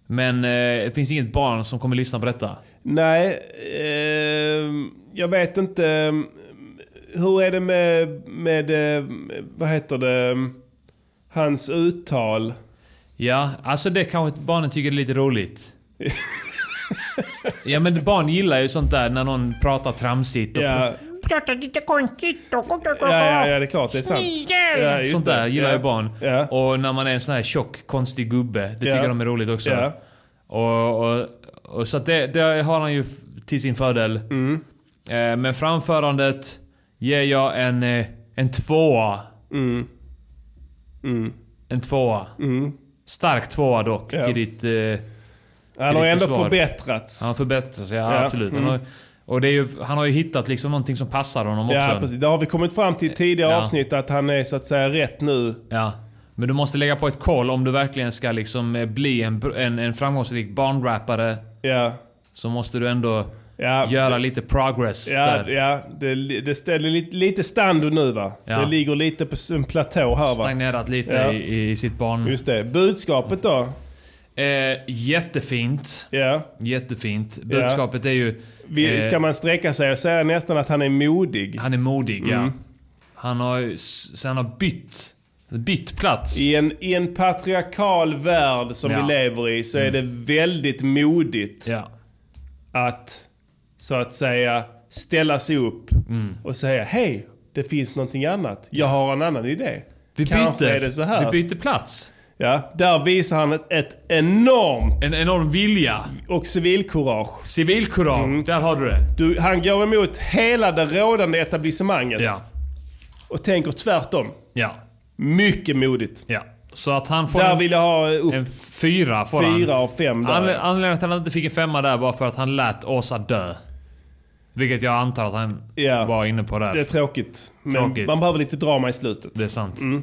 Men eh, det finns inget barn som kommer lyssna på detta.
Nej, ehm, jag vet inte. ehm, Hur är det med, med, ehm, vad heter det, ehm, hans uttal?
Ja, alltså det kanske barnen tycker är lite roligt. ja men barn gillar ju sånt där när någon pratar tramsigt. Och
Ja.
Pratar lite konstigt. Ja,
ja,
ja, det är klart. Det är sant.
Snigel!
Ja, just
sånt
det.
där gillar
Ja.
ju barn. Och när man är en sån här tjock, konstig gubbe. Det
Ja.
tycker de är roligt också.
Ja.
Och, och, och så att det, det har han ju f- till sin fördel.
Mm.
Eh, men framförandet ger jag en, eh, en tvåa.
Mm.
En tvåa. Stark tvåa dock,
Ja.
till ditt... eh, till
Han har
ditt
ändå
försvar.
förbättrats.
Han har förbättrats, ja,
Ja.
absolut. Han
Mm.
har, och det är ju, han har ju hittat liksom någonting som passar honom
Ja,
också.
precis. Det har vi kommit fram till i tidigare
Ja.
avsnitt att han är så att säga rätt nu.
Ja. Men du måste lägga på ett koll om du verkligen ska liksom eh, bli en, br- en, en framgångsrik barnrappare.
Ja.
Så måste du ändå göra lite progress
Ja,
där.
ja det, det ställer lite, lite standard nu va?
Ja.
Det ligger lite på s- en platå här va?
Stagnerat lite
Ja.
i, i sitt barn...
Just det. Budskapet då?
Eh, jättefint.
Ja.
Jättefint.
Ja.
Budskapet är ju...
Vi,
eh,
ska man sträcka sig och säga nästan att han är modig?
Han är modig,
Mm.
ja. Han har ju... s- Så han har bytt... Bytt plats.
I en, I en patriarkal värld som
Ja.
vi lever i så är
Mm.
det väldigt modigt.
Ja.
att så att säga ställa sig upp
Mm.
och säga hej, det finns någonting annat. Jag har en annan idé.
Vi
Kanske
byter.
är det så här.
Vi byter plats.
Ja, där visar han ett, ett enormt...
En enorm vilja.
Och civilkurage.
Civilkurage,
Mm.
där har du det.
Du, han går emot hela det rådande etablissemanget. Och tänker tvärtom.
Ja.
Mycket modigt.
Ja. Så att han får
Där
en,
vill jag ha upp.
en fyra. Får
Fyra
han.
av fem där.
Anle- Anledningen till att han inte fick en femma där var för att han lät Åsa dö. Vilket jag antar att han
Ja.
var inne på där.
Det är tråkigt. Men
Tråkigt.
man behöver lite drama i slutet.
Det är sant.
Mm.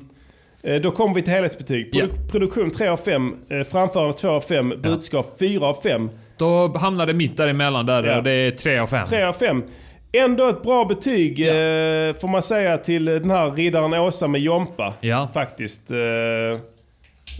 Eh, Då kommer vi till helhetsbetyg. Produ- Produktion 3 av 5, framförande 2 av 5, budskap 4 av 5.
Då hamnade mitt däremellan där och det är 3 av 5.
3 av 5. Ändå ett bra betyg eh, får man säga till den här riddaren Åsa med Jompa. Faktiskt. Eh,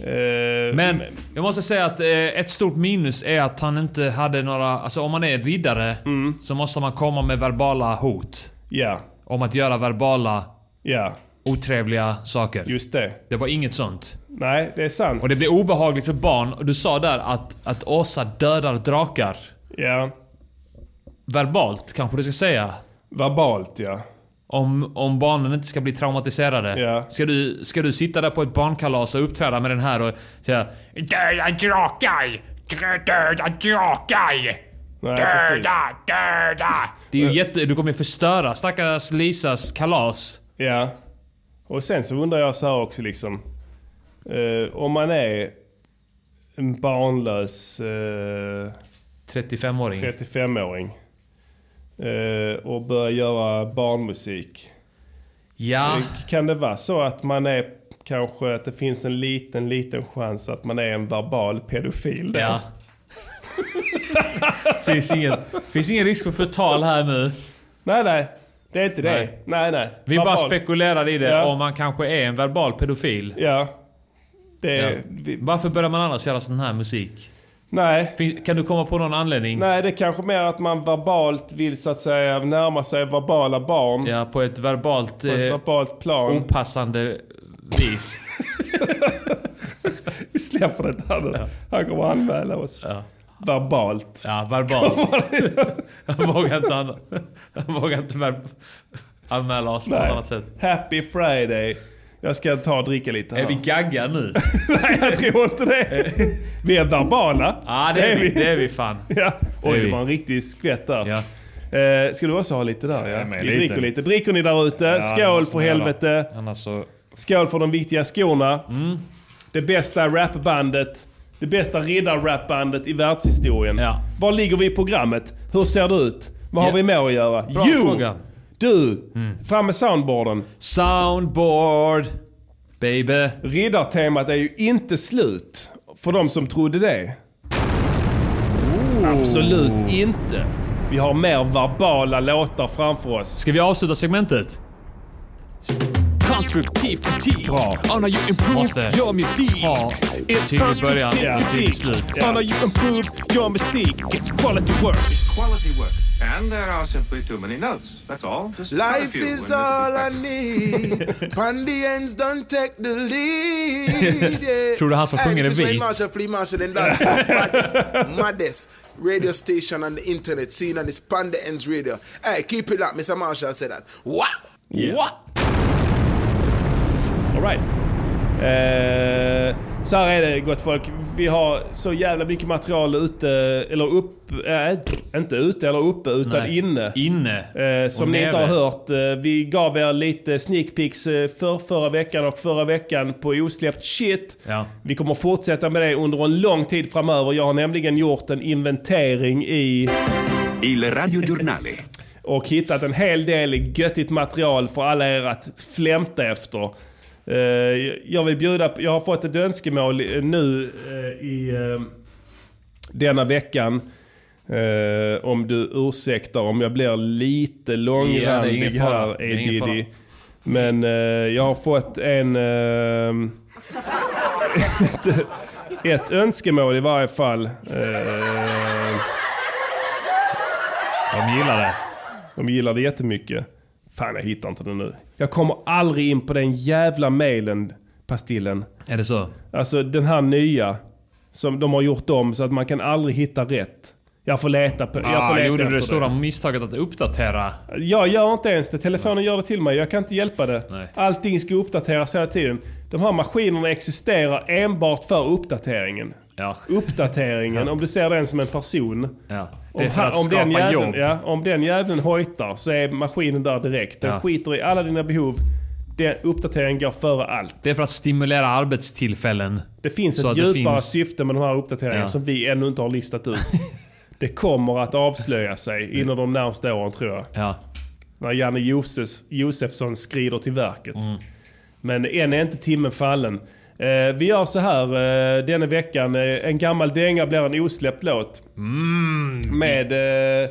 eh,
Men jag måste säga att eh, ett stort minus är att han inte hade några... Alltså om man är riddare
Mm.
så måste man komma med verbala hot.
Ja.
Om att göra verbala
ja.
otrevliga saker.
Just det.
Det var inget sånt.
Nej, det är sant.
Och det blir obehagligt för barn. Och du sa där att, att Åsa dödar drakar.
Ja.
Verbalt kanske du ska säga?
Verbalt ja.
Om, om barnen inte ska bli traumatiserade. Ska, du, ska du sitta där på ett barnkalas och uppträda med den här och säga
Döda drakar! Dö- Döda drakar!
Nej,
Döda, döda!
Det är ju jätte... Du kommer ju förstöra stackars Lisas kalas.
Ja. Och sen så undrar jag så här också liksom. Eh, om man är en barnlös... Eh,
35-åring.
35-åring. Eh, och börjar göra barnmusik.
Ja.
Eh, Kan det vara så att man är kanske att det finns en liten, liten chans att man är en verbal pedofil då?
Ja. finns, ingen, finns ingen risk för förtal här nu.
Nej, nej. Det är inte det.
Nej.
Nej, nej.
Vi bara
Verbal.
spekulerar i det
Ja.
om man kanske är en verbal pedofil.
Ja. Det är-
Ja. Varför börjar man annars göra sån här musik?
Nej.
Fin- Kan du komma på någon anledning?
Nej, det är kanske mer att man verbalt vill så att säga närma sig verbala barn.
Ja, på ett verbalt... eh,
På ett verbalt plan.
Opassande vis.
Vi släpper det där nu. Han kommer att anmäla oss. Verbalt.
Ja, verbalt. Han vågar inte, an- han vågar inte ver- anmäla oss på något
Nej.
annat sätt.
Happy Friday. Jag ska ta och dricka lite här.
Är vi gagga nu?
Nej, jag tror inte det. Vi är verbala.
Ja, det är vi. Det är vi fan.
Ja.
Det
Oj,
är
det
vi.
var en riktig skvätt där. Eh, ska du också ha lite där? Ja,
med
vi
lite.
dricker lite. Dricker ni där ute? Skål för helvete.
Annars så...
Skål för de viktiga skorna.
Mm.
Det bästa rapbandet. Det bästa riddarrapbandet i världshistorien. Var ligger vi i programmet? Hur ser det ut? Vad har
Ja.
vi med att göra?
Bra fråga. Mm.
Du! Fram med soundboarden.
Soundboard, baby.
Riddartemat är ju inte slut. För de som trodde det. Absolut inte. Vi har mer verbala låtar framför oss.
Ska vi avsluta segmentet?
Konstruktiv kritik.
Bra.
On how you improve
Måste
your music.
ha
It's
till i början,
konstruktiv
till
kritik.
slut.
On how you improve your music. It's quality work.
Quality work. And there are simply too many notes. That's all. Just cut a
Life
few
is
and it'll be
all I need. Pandy ends done take the lead. Yeah.
Tror du han som
Hey,
sjunger är
this is
vi?
Wayne Marshall, Flea Marshall, and that's maddest, maddest radio station on the internet seen on this Pandy ends radio. Hey, keep it up, Mr. Marshall said that. What?
Yeah.
What?
All right. Eh, så här är det gott folk. Vi har så jävla mycket material ute, eller upp, eh, inte ute eller uppe utan
Nej.
inne.
Inne.
Eh, som
Och
ni inte har
nere.
hört. Eh, vi gav er lite sneak peeks eh, för förra veckan och förra veckan på osläppt shit.
Ja.
Vi kommer fortsätta med det under en lång tid framöver. Jag har nämligen gjort en inventering i...
Il Radio Giornale.
och hittat en hel del göttigt material för alla er att flämta efter. Eh, Jag vill bjuda på, jag har fått ett önskemål eh, nu eh, i eh, denna veckan. Eh, om du ursäktar om jag blir lite
Ja, det är
långrandig
ingen fara.
här,
Det är
är
ingen fara.
Diddy. Men eh, jag har fått en... Eh, ett, ett önskemål i varje fall. Eh,
de gillar det.
De gillar det jättemycket. Fan, jag hittar inte det nu. Jag kommer aldrig in på den jävla mailen, Pastillen.
Är det så?
Alltså den här nya. Som de har gjort om så att man kan aldrig hitta rätt. Jag får leta på... Jag får
Ah,
leta
gjorde du
efter
det stora misstaget att uppdatera?
Jag gör inte ens det. Telefonen gör det till mig. Jag kan inte hjälpa det.
Nej.
Allting ska uppdateras hela tiden. De här maskinerna existerar enbart för uppdateringen. Uppdateringen, om du ser den som en person.
Det är för
han-
att skapa
den jäveln,
jobb.
Ja, om den jäveln hojtar så är maskinen där direkt. Den
Ja.
skiter i alla dina behov. Den uppdateringen går före allt.
Det är för att stimulera arbetstillfällen.
Det finns
Så
ett
att det
djupare
finns-
syfte med de här uppdateringarna
Ja.
som vi ännu inte har listat ut. det kommer att avslöja sig inom de närmsta åren tror jag. När Janne Josefs, Josefsson skrider till verket. Men än är inte timmen fallen. Eh, vi gör så här eh, denna veckan. Eh, en gammal dänga blir en osläppt låt. Med eh,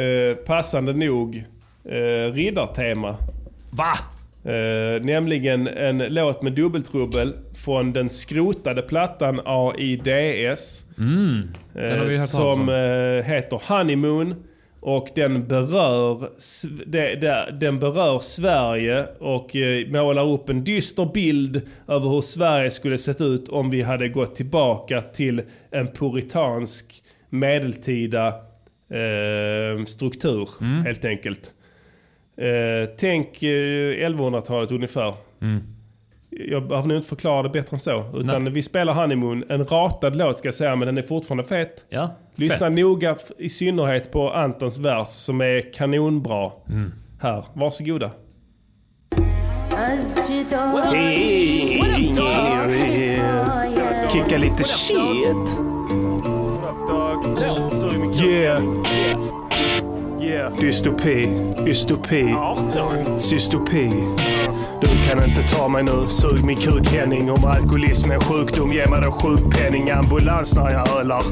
eh, passande nog eh, riddartema.
Va?
Eh, nämligen en låt med dubbeltrubbel från den skrotade plattan AIDS.
Mm. Den har vi
Eh,
hört talas
som
om.
eh, heter Honeymoon. Och den berör, Sv- det- det- den berör Sverige och eh, målar upp en dyster bild över hur Sverige skulle sett ut om vi hade gått tillbaka till en puritansk medeltida eh, struktur
Mm.
helt enkelt. Eh, tänk eh, 1100-talet ungefär.
Mm.
Jag behöver nog inte förklara det bättre än så. Utan vi spelar Honeymoon, en ratad låt ska jag säga, men den är fortfarande fet.
Ja,
Lyssna
fett.
noga f- i synnerhet på Antons vers som är kanonbra
Mm.
här. Varsågoda.
Kicka lite shit.
Yeah.
Dystopi, dystopi, cystopi. Du kan inte ta mig nu, sug min kuk Henning. Om alkoholism är en sjukdom, ge mig då sjukpenning. Ambulans när jag ölar.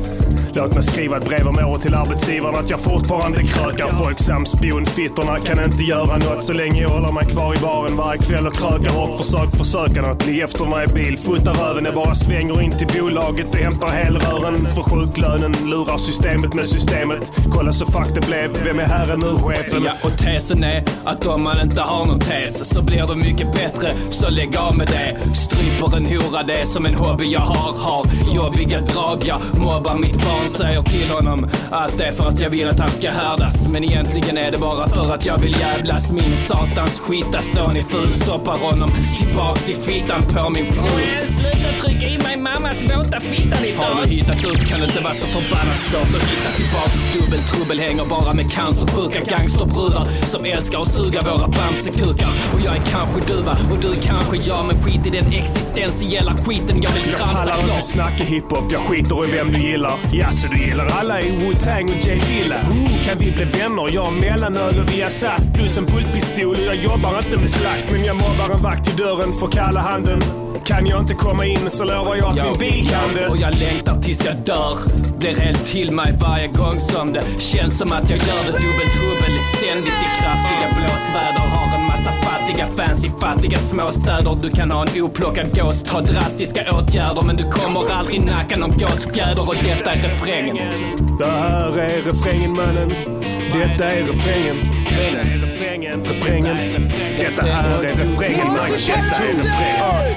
Låt mig skriva ett brev om året till arbetsgivaren att jag fortfarande krökar. Folksams spionfittorna kan inte göra något så länge jag håller mig kvar i baren varje kväll och krökar och försök försöka något. Ligg efter mig i bil, fotar röven. Jag bara svänger in till bolaget och hämtar helrören för sjuklönen. Lurar systemet med systemet. Kolla så fuck det blev. Vem är herren nu, chefen?
Ja, och tesen är att om man inte har någon tes så blir det mycket bättre, så lägg av med det. Stryper en hora, det är som en hobby jag har. Har jobbiga drag, jag mobbar mitt barn. Säger till honom att det är för att jag vill att han ska härdas. Men egentligen är det bara för att jag vill jävlas. Min satans skita son är ful, stoppar honom tillbaks i fittan på min fru.
Sluta trycka i mig mammas våta fitta ditt
Har du hittat upp kan det inte vara så förbannat svårt att hitta tillbaks. Dubbeltrubbel hänger bara med cancersjuka gangsterbrudar som älskar att suga våra bamsekukar. Och jag är kanske duva och du är kanske jag men skit i den existentiella skiten jag vill
Jag
tramsa
pallar inte
klart.
snacka hiphop, jag skiter i vem du gillar. Jaså, du gillar alla i Wu-Tang och Jay Dilla? Ooh, kan vi bli vänner? Jag har mellanöl och Viasat plus en pultpistol och jag jobbar inte med slakt. Men jag mobbar en vakt i dörren, får kalla handen. Kan jag inte komma in så lovar jag att min bil kan det.
Och jag längtar tills jag dör. Blir helt till mig varje gång som det känns som att jag gör det. Dubbeltrubbel ständigt i kraftiga blåsväder. Har en massa fattiga fans i fattiga småstäder. Du kan ha en oplockad gås, ta drastiska åtgärder. Men du kommer aldrig nacka någon gåsfjäder. Och detta är refrängen.
Det här är refrängen mannen. Detta är refrängen. Detta är refrängen. Refrängen. Detta här är refrängen mannen. Detta är refrängen.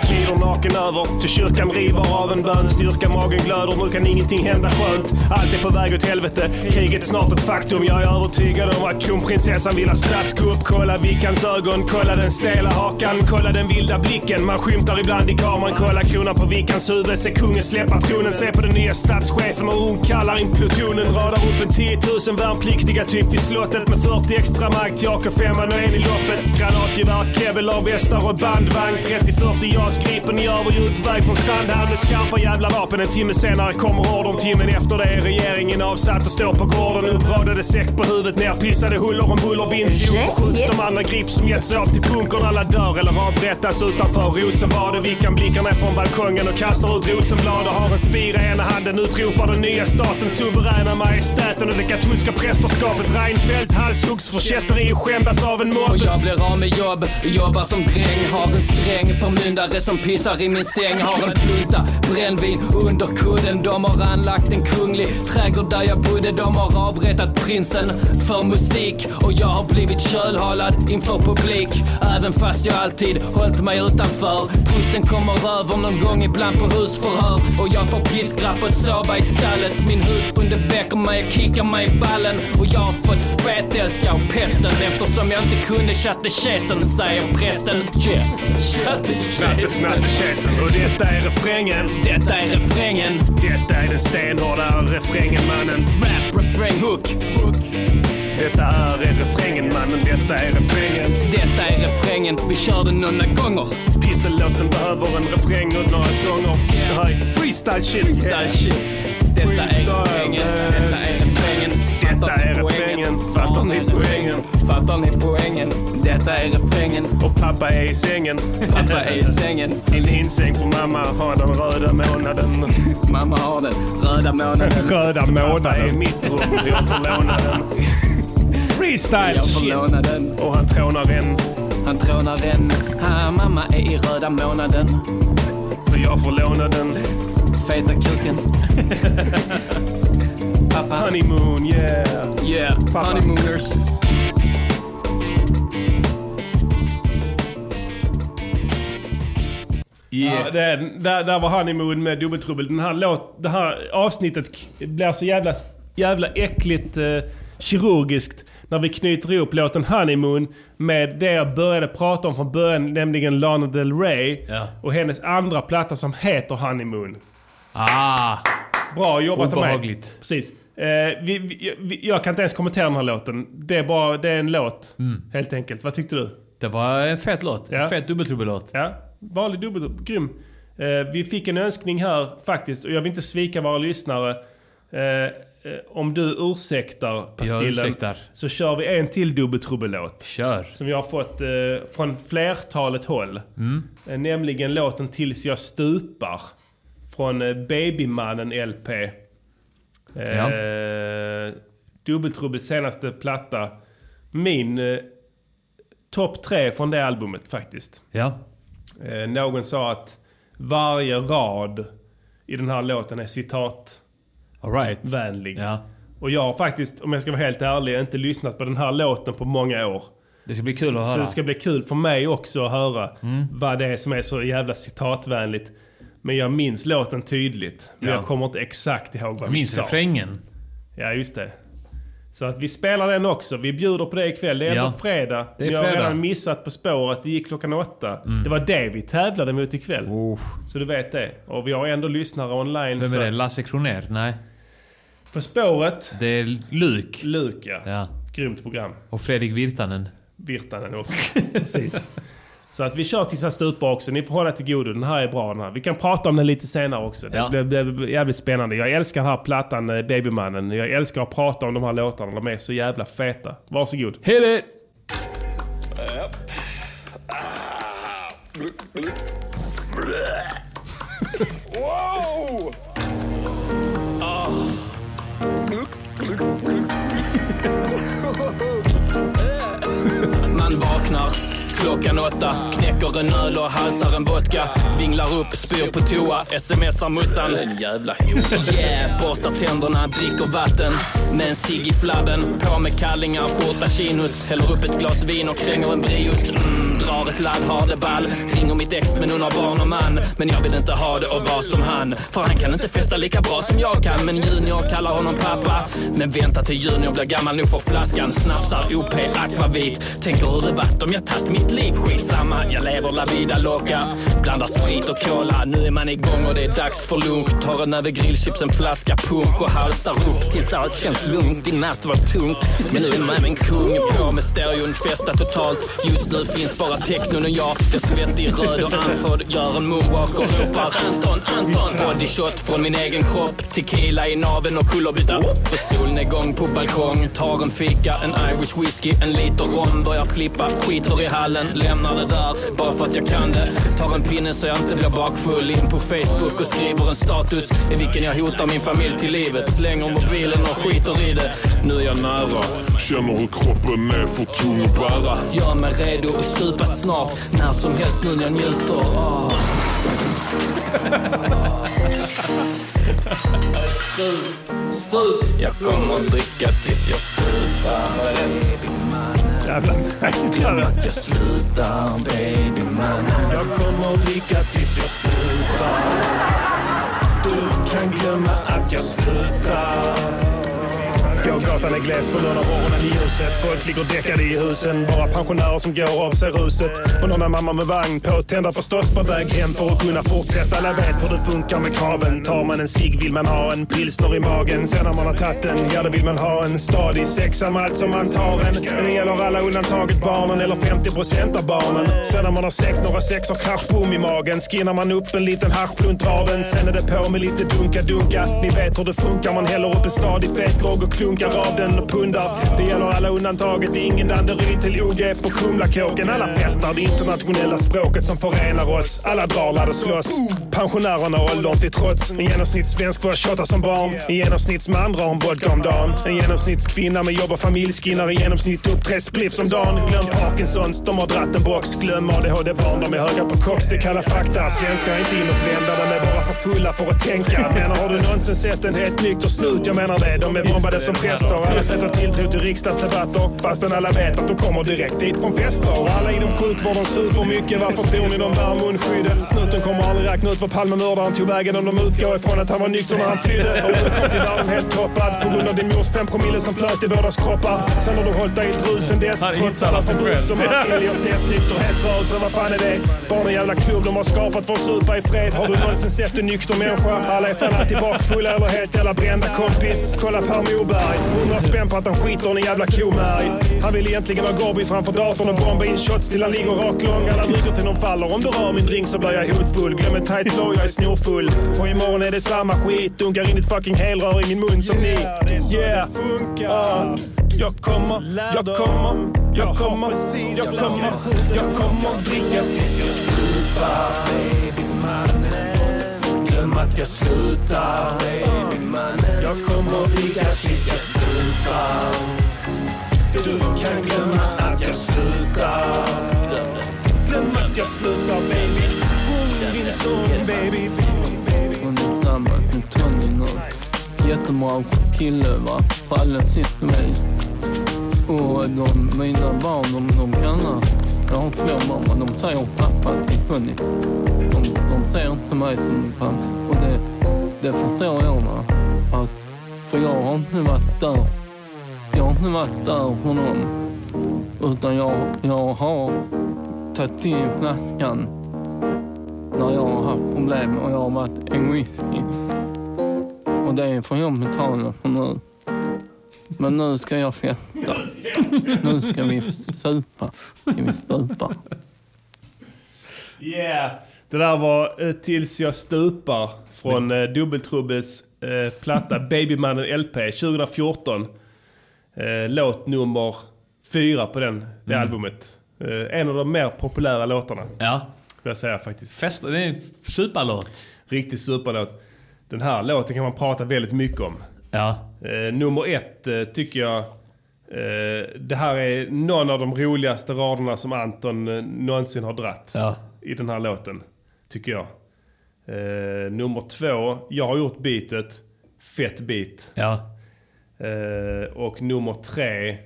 Glider naken över till kyrkan river av en bön. Styrka magen glöder. Nu kan ingenting hända skönt. Allt är på väg åt helvete. Kriget är snart ett faktum. Jag är övertygad om att kronprinsessan vill ha statskupp. Kolla Vickans ögon. Kolla den stela hakan. Kolla den vilda blicken. Man skymtar ibland i kameran. Kolla kronan på Vickans huvud. Se kungen släppa tronen. Se på den nya statschefen och hon kallar in plutonen. Radar upp en 10 000 värnpliktiga typ vid slottet med 40 extra mark till AK5 och en i loppet. Granatgevär, kevlar, västar och bandvagn. 30-40 JAS Gripen i överljud på väg från Sandhamn med skarpa jävla vapen. En timme senare kommer ordern. Timmen efter det är regeringen avsatt och står på gården. Uppradade säck på huvudet, nerpissade huller om buller binds ihop och skjuts. De andra grips som gett sig av till bunkern. Alla dör eller avrättas utanför Rosenbad. Och vickan blickarna från balkongen och kastar ut rosenblad och har en spira i ena handen. Utropar den nya staten, suveräna majestäten och det katolska prästerskapet. Reinfeldt halshuggs för
kätteri och skändas av en mobb.
Och jag blir av med jobb, jobbar som dräng. Har en sträng förmyndare som pissar i min säng. Har en plunta brännvin under kudden. De har anlagt en kunglig trädgård där jag bodde. De har avrättat prinsen för musik. Och jag har blivit kölhalad inför publik. Även fast jag alltid hållit mig utanför. Pusten kommer över någon gång ibland på husförhör. Och jag får piskrapp och sova i stallet. Min husbonde väcker mig och kickar mig i ballen. Och jag har fått spetälska och pesten. Eftersom jag inte kunde tjattekäsen, säger prästen. Yeah,
Snatte, snatte, käsen. Och detta är refrängen.
Detta är refrängen.
Detta är den stenhårda refrängen, mannen.
Rap, refräng, hook. hook.
Detta är refrängen, mannen. Detta är refrängen.
Detta är refrängen. Vi kör den några gånger.
Pisselåten behöver en refräng och några sånger. Det här är freestyle shit.
Freestyle shit. Detta är refrängen. Detta är refrängen.
Detta är refrängen. Fattar ni poängen?
Fattar ni poängen? Detta är refrängen.
Och pappa är i sängen.
Pappa är i sängen.
I linsäng för mamma har den röda månaden.
Mamma har den röda månaden.
Röda
Pappa är i mitt rum. Jag får låna den. Freestyle
Jag får
shit.
låna den.
Och han trånar en.
Han trånar en. Ha, mamma är i röda månaden.
Och jag får låna den.
Feta kuken. Pappa.
Honeymoon, yeah.
Yeah. Honeymooners.
Ja, det är, den. där, där var Honeymoon med Dubbeltrubbel. Den här låt, det här avsnittet k- blir så jävla, jävla äckligt eh, kirurgiskt när vi knyter ihop låten Honeymoon med det jag började prata om från början, nämligen Lana Del Rey
Ja.
och hennes andra platta som heter Honeymoon.
Ah!
Bra jobbat av mig.
Obehagligt.
Precis. Eh, vi, vi, vi, jag kan inte ens kommentera den här låten. Det är, bara, det är en låt,
Mm.
helt enkelt. Vad tyckte du?
Det var en fet låt. En fet dubbeltrubbelåt.
Ja, vanlig dubbel. Grym. Eh, vi fick en önskning här faktiskt och jag vill inte svika våra lyssnare. Eh, eh, om du ursäktar Pastillen
ursäktar.
så kör vi en till dubbeltrubbelåt.
Kör.
Som jag har fått eh, från flertalet håll.
Mm.
Eh, nämligen låten Tills jag stupar. Från eh, Babymannen LP. Eh,
Ja.
Dubbeltrubbels senaste platta. Min eh, topp tre från det albumet faktiskt.
Ja.
Eh, någon sa att varje rad i den här låten är citat vänlig. Och jag har faktiskt, om jag ska vara helt ärlig, inte lyssnat på den här låten på många år.
Det ska bli kul att
Så- Så
höra. Mm.
det ska bli kul för mig också att höra vad det är som är så jävla citatvänligt. Men jag minns låten tydligt. Men
Ja.
jag kommer inte exakt ihåg vad
Jag
vi
minns
sa.
refrängen.
Ja, just det. Så att vi spelar den också. Vi bjuder på det ikväll. Det är
Ja.
ändå fredag.
Det är
Vi har
fredag.
redan missat På spåret. Det gick klockan åtta.
Mm.
Det var det vi tävlade mot ikväll. Så du vet det. Och vi har ändå lyssnare online.
Vem
Oh, så
är det?
att-
Lasse Kronér? Nej.
På spåret.
Det är Luk.
Luk, ja.
ja.
Grymt program.
Och Fredrik Virtanen.
Virtanen också. Precis. Så att vi kör tills han stupar också. Ni får hålla till godo. Den här är bra den här. Vi kan prata om den lite senare också. Det
Ja.
blir det blir jävligt spännande. Jag älskar den här plattan eh, Babymannen. Jag älskar att prata om de här låtarna. De är så jävla feta. Varsågod.
Hit it!
Wow!
Man vaknar klockan åtta, knäcker en öl och halsar en vodka. Vinglar upp, spyr på toa, smsar mussan. En jävla hora. Yeah, borstar tänderna, dricker vatten. Med en cigg i fladden, på med kallingar, skjorta, chinos. Häller upp ett glas vin och kränger en Brios. Mm, drar ett ladd, har det ball. Ringer mitt ex men hon har barn och man. Men jag vill inte ha det och vara som han. För han kan inte festa lika bra som jag kan. Men Junior kallar honom pappa. Men vänta till Junior blir gammal nog för flaskan. Snapsar OP akvavit. Tänker hur det varit om jag tagit mitt liv. Skitsamma, jag lever la vida loca. Blandar sprit och cola. Nu är man igång och det är dags för lunch. Tar en näve grillchips, en flaska punk och halsar upp tills allt känns lugnt. I natt var tungt, men nu är man en kung. På med stereon, festar totalt. Just nu finns bara technon och jag. Jag är svettig, röd och andfådd. Gör en moonwalk och ropar Anton, Anton. Bodyshot från min egen kropp. Tequila i naveln och kullerbytta. På solnedgång på balkong. Tar en fika, en irish whisky, en liter rom. Börjar flippa, skiter i hallen. den, lämnar det där bara för att jag kan det. Tar en pinne så jag inte blir bakfull. In på Facebook och skriver en status i vilken jag hotar min familj till livet. Slänger mobilen och skiter i det. Nu är jag nära.
Känner hur kroppen är för tung att bära.
Gör mig redo att stupa snart. När som helst nu när jag njuter. Ah. Jag kommer dricka tills jag stupar.
Jävlar.
Glöm att jag slutar baby man. Jag kommer dricka tills jag stupar.
Du kan glömma att jag slutar. Gågatan är gles på lördagmorgonen i huset. Folk ligger däckade i husen. Bara pensionärer som går av sig ruset. Och någon mamma med vagn påtända förstås på väg hem för att kunna fortsätta. Alla vet hur det funkar med kraven. Tar man en cigg vill man ha en pilsner i magen. Sen när man har tagit den, ja då vill man ha en stadig sexa med allt som man tar en. Det gäller alla undantaget barnen eller 50 procent av barnen. Sen när man har säckt några sexor, kanske bom i magen. Skinnar man upp en liten haschblunt drar den. Sen är det på med lite dunka-dunka. Ni vet hur det funkar. Man häller upp en stadig fet grogg och klunkar av den och pundar. Det gäller alla undantaget. Ingen Danderyd till OG på Kumlakåken. Alla festar det internationella språket som förenar oss. Alla drar, laddar, slåss. Pensionärerna åldern till trots. En genomsnittssvensk börjar tjata som barn. En genomsnittsman drar en vodka om dagen. En genomsnittskvinna med jobb och familj skinnar i genomsnitt upp tre spliffs om dagen. Glöm Parkinsons, de har dratt en box. Glöm ADHD-barn, de är höga på koks. Det är kalla fakta. Svenskar är inte inåtvända, de är bara för fulla för att tänka. Menar, har du någonsin sett en helt nykter snut? Jag menar det. De är bombade som präster. Alla sätter tilltro till riksdagsdebatter. Fastän alla vet att de kommer direkt dit från fester. Och Alla inom sjukvården super mycket. Varför tror ni de bär munskyddet? Snuten kommer aldrig räkna ut vad Palmemördaren tog vägen om de utgår ifrån att han var nykter när han flydde. Och du kom till världen helt toppad på grund av din mors fem promille som flöt i bådas kroppar. Sen har du hållit dig i ett rus sen dess.
Han
Trots alla
hittar sig
förbud
själv.
som han Elliot Ness nykterhetsrörelsen. Vad fan är det? Bara en jävla klubb de har skapat för att supa i fred. Har du någonsin sett en nykter människa? Alla är fan alltid bakfulla eller helt jävla brända kompis. Kolla Per Moberg. Hundra spänn på att han skiter i en jävla komärg. Han vill egentligen ha Gorby framför datorn och bomba in shots till han ligger raklång. Alla mutor till de faller. Om du rör min drink så blir jag hotfull. Glöm en tight flow, jag är snorfull. Och imorgon är det samma skit. Dunkar in ditt fucking helrör i min mun som ni. Yeah! Ah. Jag kommer, jag kommer, jag kommer, jag kommer, jag kommer dricka tills jag stupar. Baby mannen, glöm att jag slutar. Baby mannen, jag kommer dricka tills jag stupar. Du kan glömma att jag slutar. Glöm att jag slutar baby. Hon din son baby.
Under drabbad med tongen och jättebra kille va. Pallen sitter mig. Och de, mina barn de, de kallar. Jag har två mamma. De säger pappa till Conny. De, de ser inte mig som pappa. Och det, det förstår jag va. Att, för jag har inte varit där. Jag har inte varit där för dem. Utan jag, jag har tagit till flaskan när jag har haft problem och jag har varit egoistisk. Och det är för jag betalar för nu. Men nu ska jag festa. Nu ska vi supa till vi stupar.
Yeah. Det där var eh, Tills jag stupar från eh, Dubbeltrubbes eh, platta Babymannen LP 2014. Eh, låt nummer fyra på den, det
Mm.
albumet. Eh, en av de mer populära låtarna. Ja. Vill jag säga faktiskt. Fest, det är en superlåt. Riktig superlåt. Den här låten kan man prata väldigt mycket om.
Ja.
Eh, nummer ett eh, tycker jag... Eh, det här är någon av de roligaste raderna som Anton eh, någonsin har dratt.
Ja.
I den här låten. Tycker jag. Eh, nummer två. Jag har gjort beatet. Fett beat.
Ja.
Eh, och nummer tre.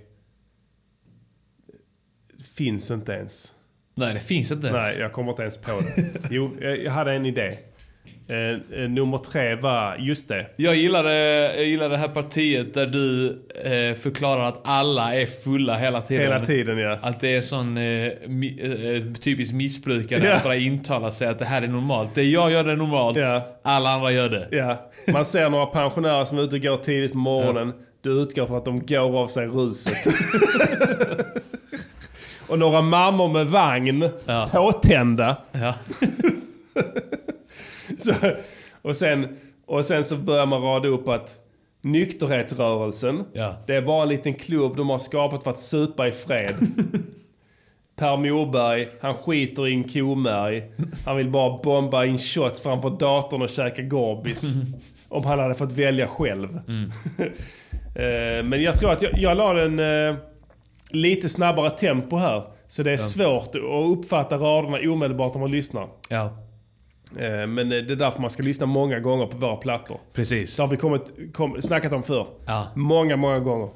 Finns inte ens.
Nej, det finns inte ens.
Nej, jag kommer inte ens på det. Jo, jag jag hade en idé. Eh, eh, nummer tre var, just det.
Jag gillade, jag gillade det här partiet där du eh, förklarar att alla är fulla hela tiden.
Hela tiden, ja.
Att det är sån eh, mi, eh, typisk missbrukare
Ja.
att bara intala sig att det här är normalt. Det jag gör det är normalt. Alla andra gör det.
Ja, man ser några pensionärer som är ute och går tidigt på morgonen. Du utgår från att de går av sig ruset. och några mammor med vagn. Påtända. så, och, sen, och sen så börjar man rada upp att nykterhetsrörelsen, det är bara en liten klubb de har skapat för att supa i fred. Per Morberg, han skiter i en komärg. Han vill bara bomba in shots framför datorn och käka gorbis. Om han hade fått välja själv. Eh, Men jag tror att jag, jag la den eh, lite snabbare tempo här. Så det är
Ja.
svårt att uppfatta raderna omedelbart när man lyssnar.
Ja.
Eh, Men eh, det är därför man ska lyssna många gånger på våra plattor.
Precis.
Det har vi kommit, kom, snackat om förr.
Ja.
Många, många gånger.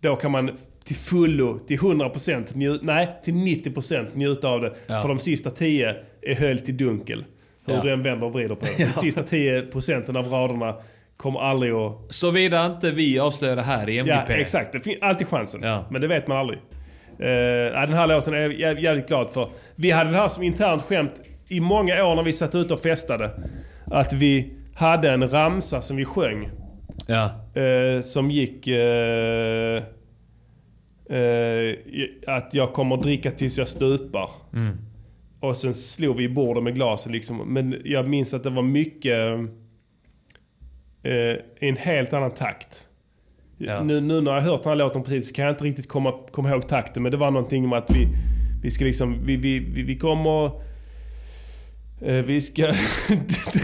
Då kan man till fullo, till 100%, njut, nej, till 90% njuta av det.
Ja.
För de sista 10 är höljt i dunkel. Hur
Ja.
du än vänder och vrider på det.
Ja.
De sista 10% av raderna kommer aldrig att...
Såvida inte vi avslöjar det här i MGP.
Ja, exakt. Det finns alltid chansen. Men det vet man aldrig. Eh, ja, den här låten är jag jä- jävligt glad för. Vi hade det här som internt skämt i många år när vi satt ute och festade. Att vi hade en ramsa som vi sjöng.
Ja.
Eh, som gick... eh, eh, att jag kommer dricka tills jag stupar.
Mm.
Och sen slog vi i bordet med glasen liksom. Men jag minns att det var mycket eh, i en helt annan takt. Nu, nu när jag har hört den här låten precis så kan jag inte riktigt komma, komma ihåg takten. Men det var någonting om att vi, vi ska liksom, vi, vi, vi, vi kommer... eh, Vi ska...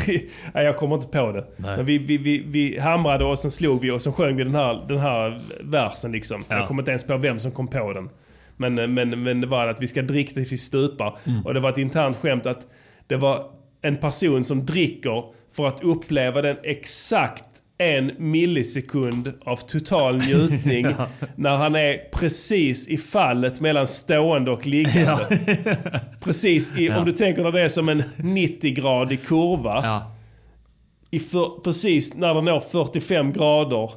Nej, jag kommer inte på det.
Nej.
Men vi, vi, vi, vi hamrade och sen slog vi och sen sjöng vi den här, den här versen liksom.
Ja.
Jag kommer inte ens på vem som kom på den. Men, eh, men, men det var att vi ska dricka tills vi stupar.
Mm.
Och det var ett internt skämt att det var en person som dricker för att uppleva den exakt en millisekund av total njutning
Ja.
när han är precis i fallet mellan stående och liggande. Precis, i,
Ja.
om du tänker dig det som en 90-gradig kurva. I för, precis när den når 45 grader.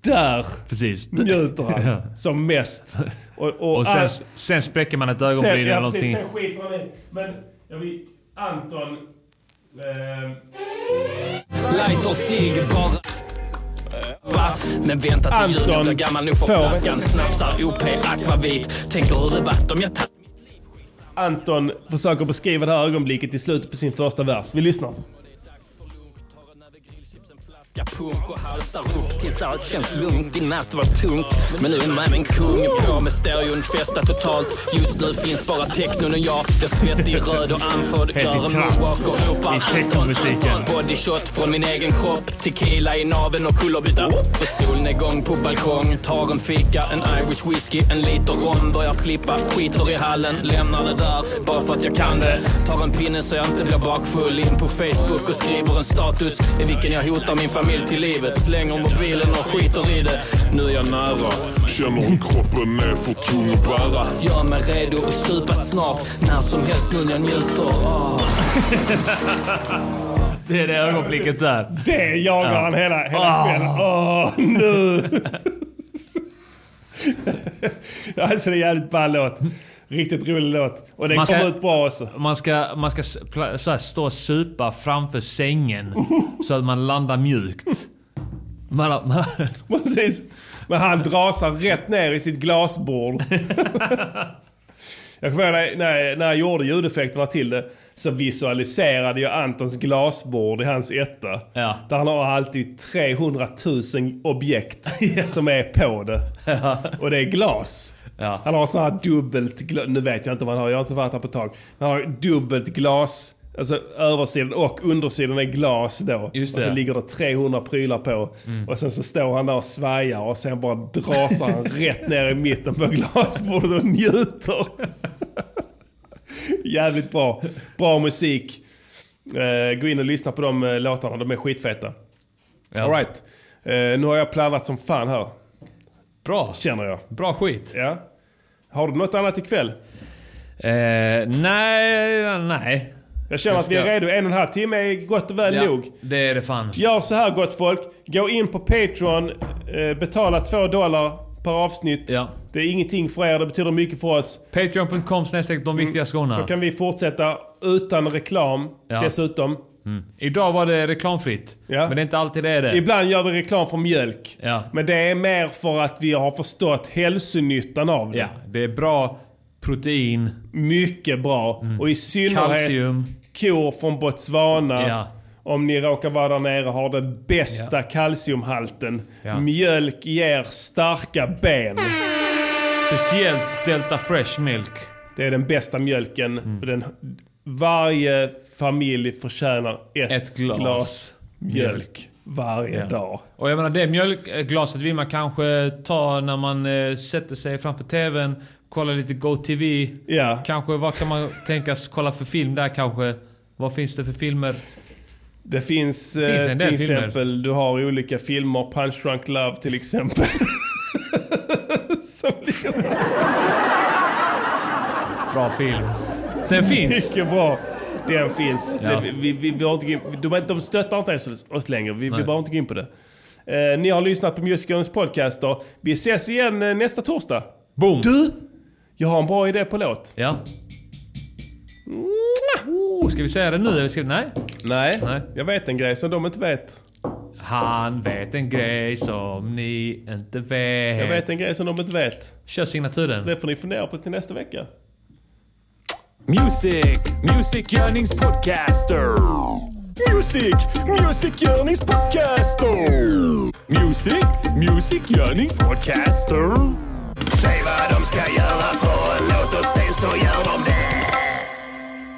Där
Precis.
njuter han
Ja.
som mest. Och, och,
Och sen,
all-
sen spräcker man ett ögonbryn
Sen- ja,
eller
precis,
någonting.
Sen skiter han i. Men jag vill... Anton... ehm,
Lighter cigg bara Va? Men vänta till
Anton
julen blir gammal nog för
får-
flaskan snapsar OP akvavit Tänker hur det varit om jag tatt
Anton försöker beskriva det här ögonblicket i slutet på sin första vers. Vi lyssnar.
Ska punsch och halsar upp tills allt känns lugnt. I natt var tungt, men nu är man en kung. På med stereon, festa totalt. Just nu finns bara technon och jag. Blir svettig, röd och andfådd.
Helt i
Gör en
trans.
moonwalk och ropar
I
Anton,
technomusiken.
Anton. Bodyshot från min egen kropp. Tequila i naveln och kullerbytta. Vid solnedgång på balkong. Tar en fika, en Irish whisky, en liter rom. Börjar flippa, skiter i hallen. Lämnar det där, bara för att jag kan det. Tar en pinne så jag inte blir bakfull. In på Facebook och skriver en status i vilken jag hotar min familj till livet. Slänger mobilen och skiter i det. Nu är jag nära.
Känner hur kroppen är för tung att bära.
Gör mig redo att stupa snart. När som helst nu när jag njuter. Ah.
Det är det ögonblicket där.
Det jagar
Ja.
han hela, hela
Ah.
kvällen. Åh, nu! alltså det är jävligt ball låt. Riktigt rolig låt. Och den
Man
kom
ska-
ut bra också.
Man ska, man ska s- pla- så här, stå och supa framför sängen så att man landar mjukt. Man, har- man,
Precis. Men han drasar rätt ner i sitt glasbord. jag kommer ihåg när- när, när jag gjorde ljudeffekterna till det så visualiserade jag Antons glasbord i hans etta. Där han har alltid 300 000 objekt som är på det. Och det är glas. Han har sådana här dubbelt glas. Nu vet jag inte vad han har, jag har inte varit här på ett tag. Han har dubbelt glas. Alltså översidan och undersidan är glas då.
Just
Och så
det.
ligger det 300 prylar på.
Mm.
Och sen så står han där och svajar och sen bara drasar han rätt ner i mitten på glasbordet och njuter. Jävligt bra. Bra musik. Eh, gå in och lyssna på de eh, låtarna, de är skitfeta.
Ja.
All right. Eh, nu har jag planat som fan här.
Bra.
Känner jag.
Bra skit.
Ja. Har du något annat ikväll?
Eh, nej, nej.
Jag känner
Jag
att vi
ska-
är redo. En och en halv timme är gott och väl
Ja,
nog.
det är det fan.
Gör så här gott folk. Gå in på Patreon. Eh, betala två dollar per avsnitt. Det är ingenting för er. Det betyder mycket för oss.
Patreon.com snedstreck de viktiga skorna.
Mm, Så kan vi fortsätta utan reklam
Ja.
dessutom.
Mm. Idag var det reklamfritt. Men det är inte alltid det är det.
Ibland gör vi reklam för mjölk.
Ja.
Men det är mer för att vi har förstått hälsonyttan av det.
Ja, det är bra protein.
Mycket bra. Och i synnerhet
Mm. Kalcium.
kor från Botswana.
Ja.
Om ni råkar vara där nere har den bästa kalciumhalten.
Ja.
Mjölk ger starka ben.
Speciellt Delta Fresh Milk.
Det är den bästa mjölken.
Mm.
Och den, varje familj förtjänar ett,
Ett glas
glas, mjölk,
mjölk.
varje
Ja.
dag.
Och jag menar det mjölkglaset vill man kanske ta när man eh, sätter sig framför TVn, kollar lite GoTV.
Ja.
Kanske vad kan man tänkas kolla för film där kanske? Vad finns det för filmer?
Det finns, eh,
Finns en del
till
filmer.
exempel, du har olika filmer, Punch Drunk Love till exempel. Som ligger...
Bra film. Den finns.
Mycket bra. Den finns.
Ja.
Det, vi, vi, vi har inte, gå in- de, är- de stöttar inte ens oss längre. Vi, vi
Nej.
behöver inte gå in på det. Eh, ni har lyssnat på Music Girls podcast. då. Vi ses igen eh, nästa torsdag.
Boom.
Du! Jag har en bra idé på låt.
Ja. Oh, ska vi säga det nu? Eller ska vi, nej?
Nej. Jag vet en grej som de inte vet.
Han vet en grej som ni inte vet.
Jag vet en grej som de inte vet.
Kör signaturen.
Det får ni fundera på till nästa vecka.
Music, Music Yearnings Podcaster. Music, Music Yearnings Podcaster. Music, Music Yearnings Podcaster.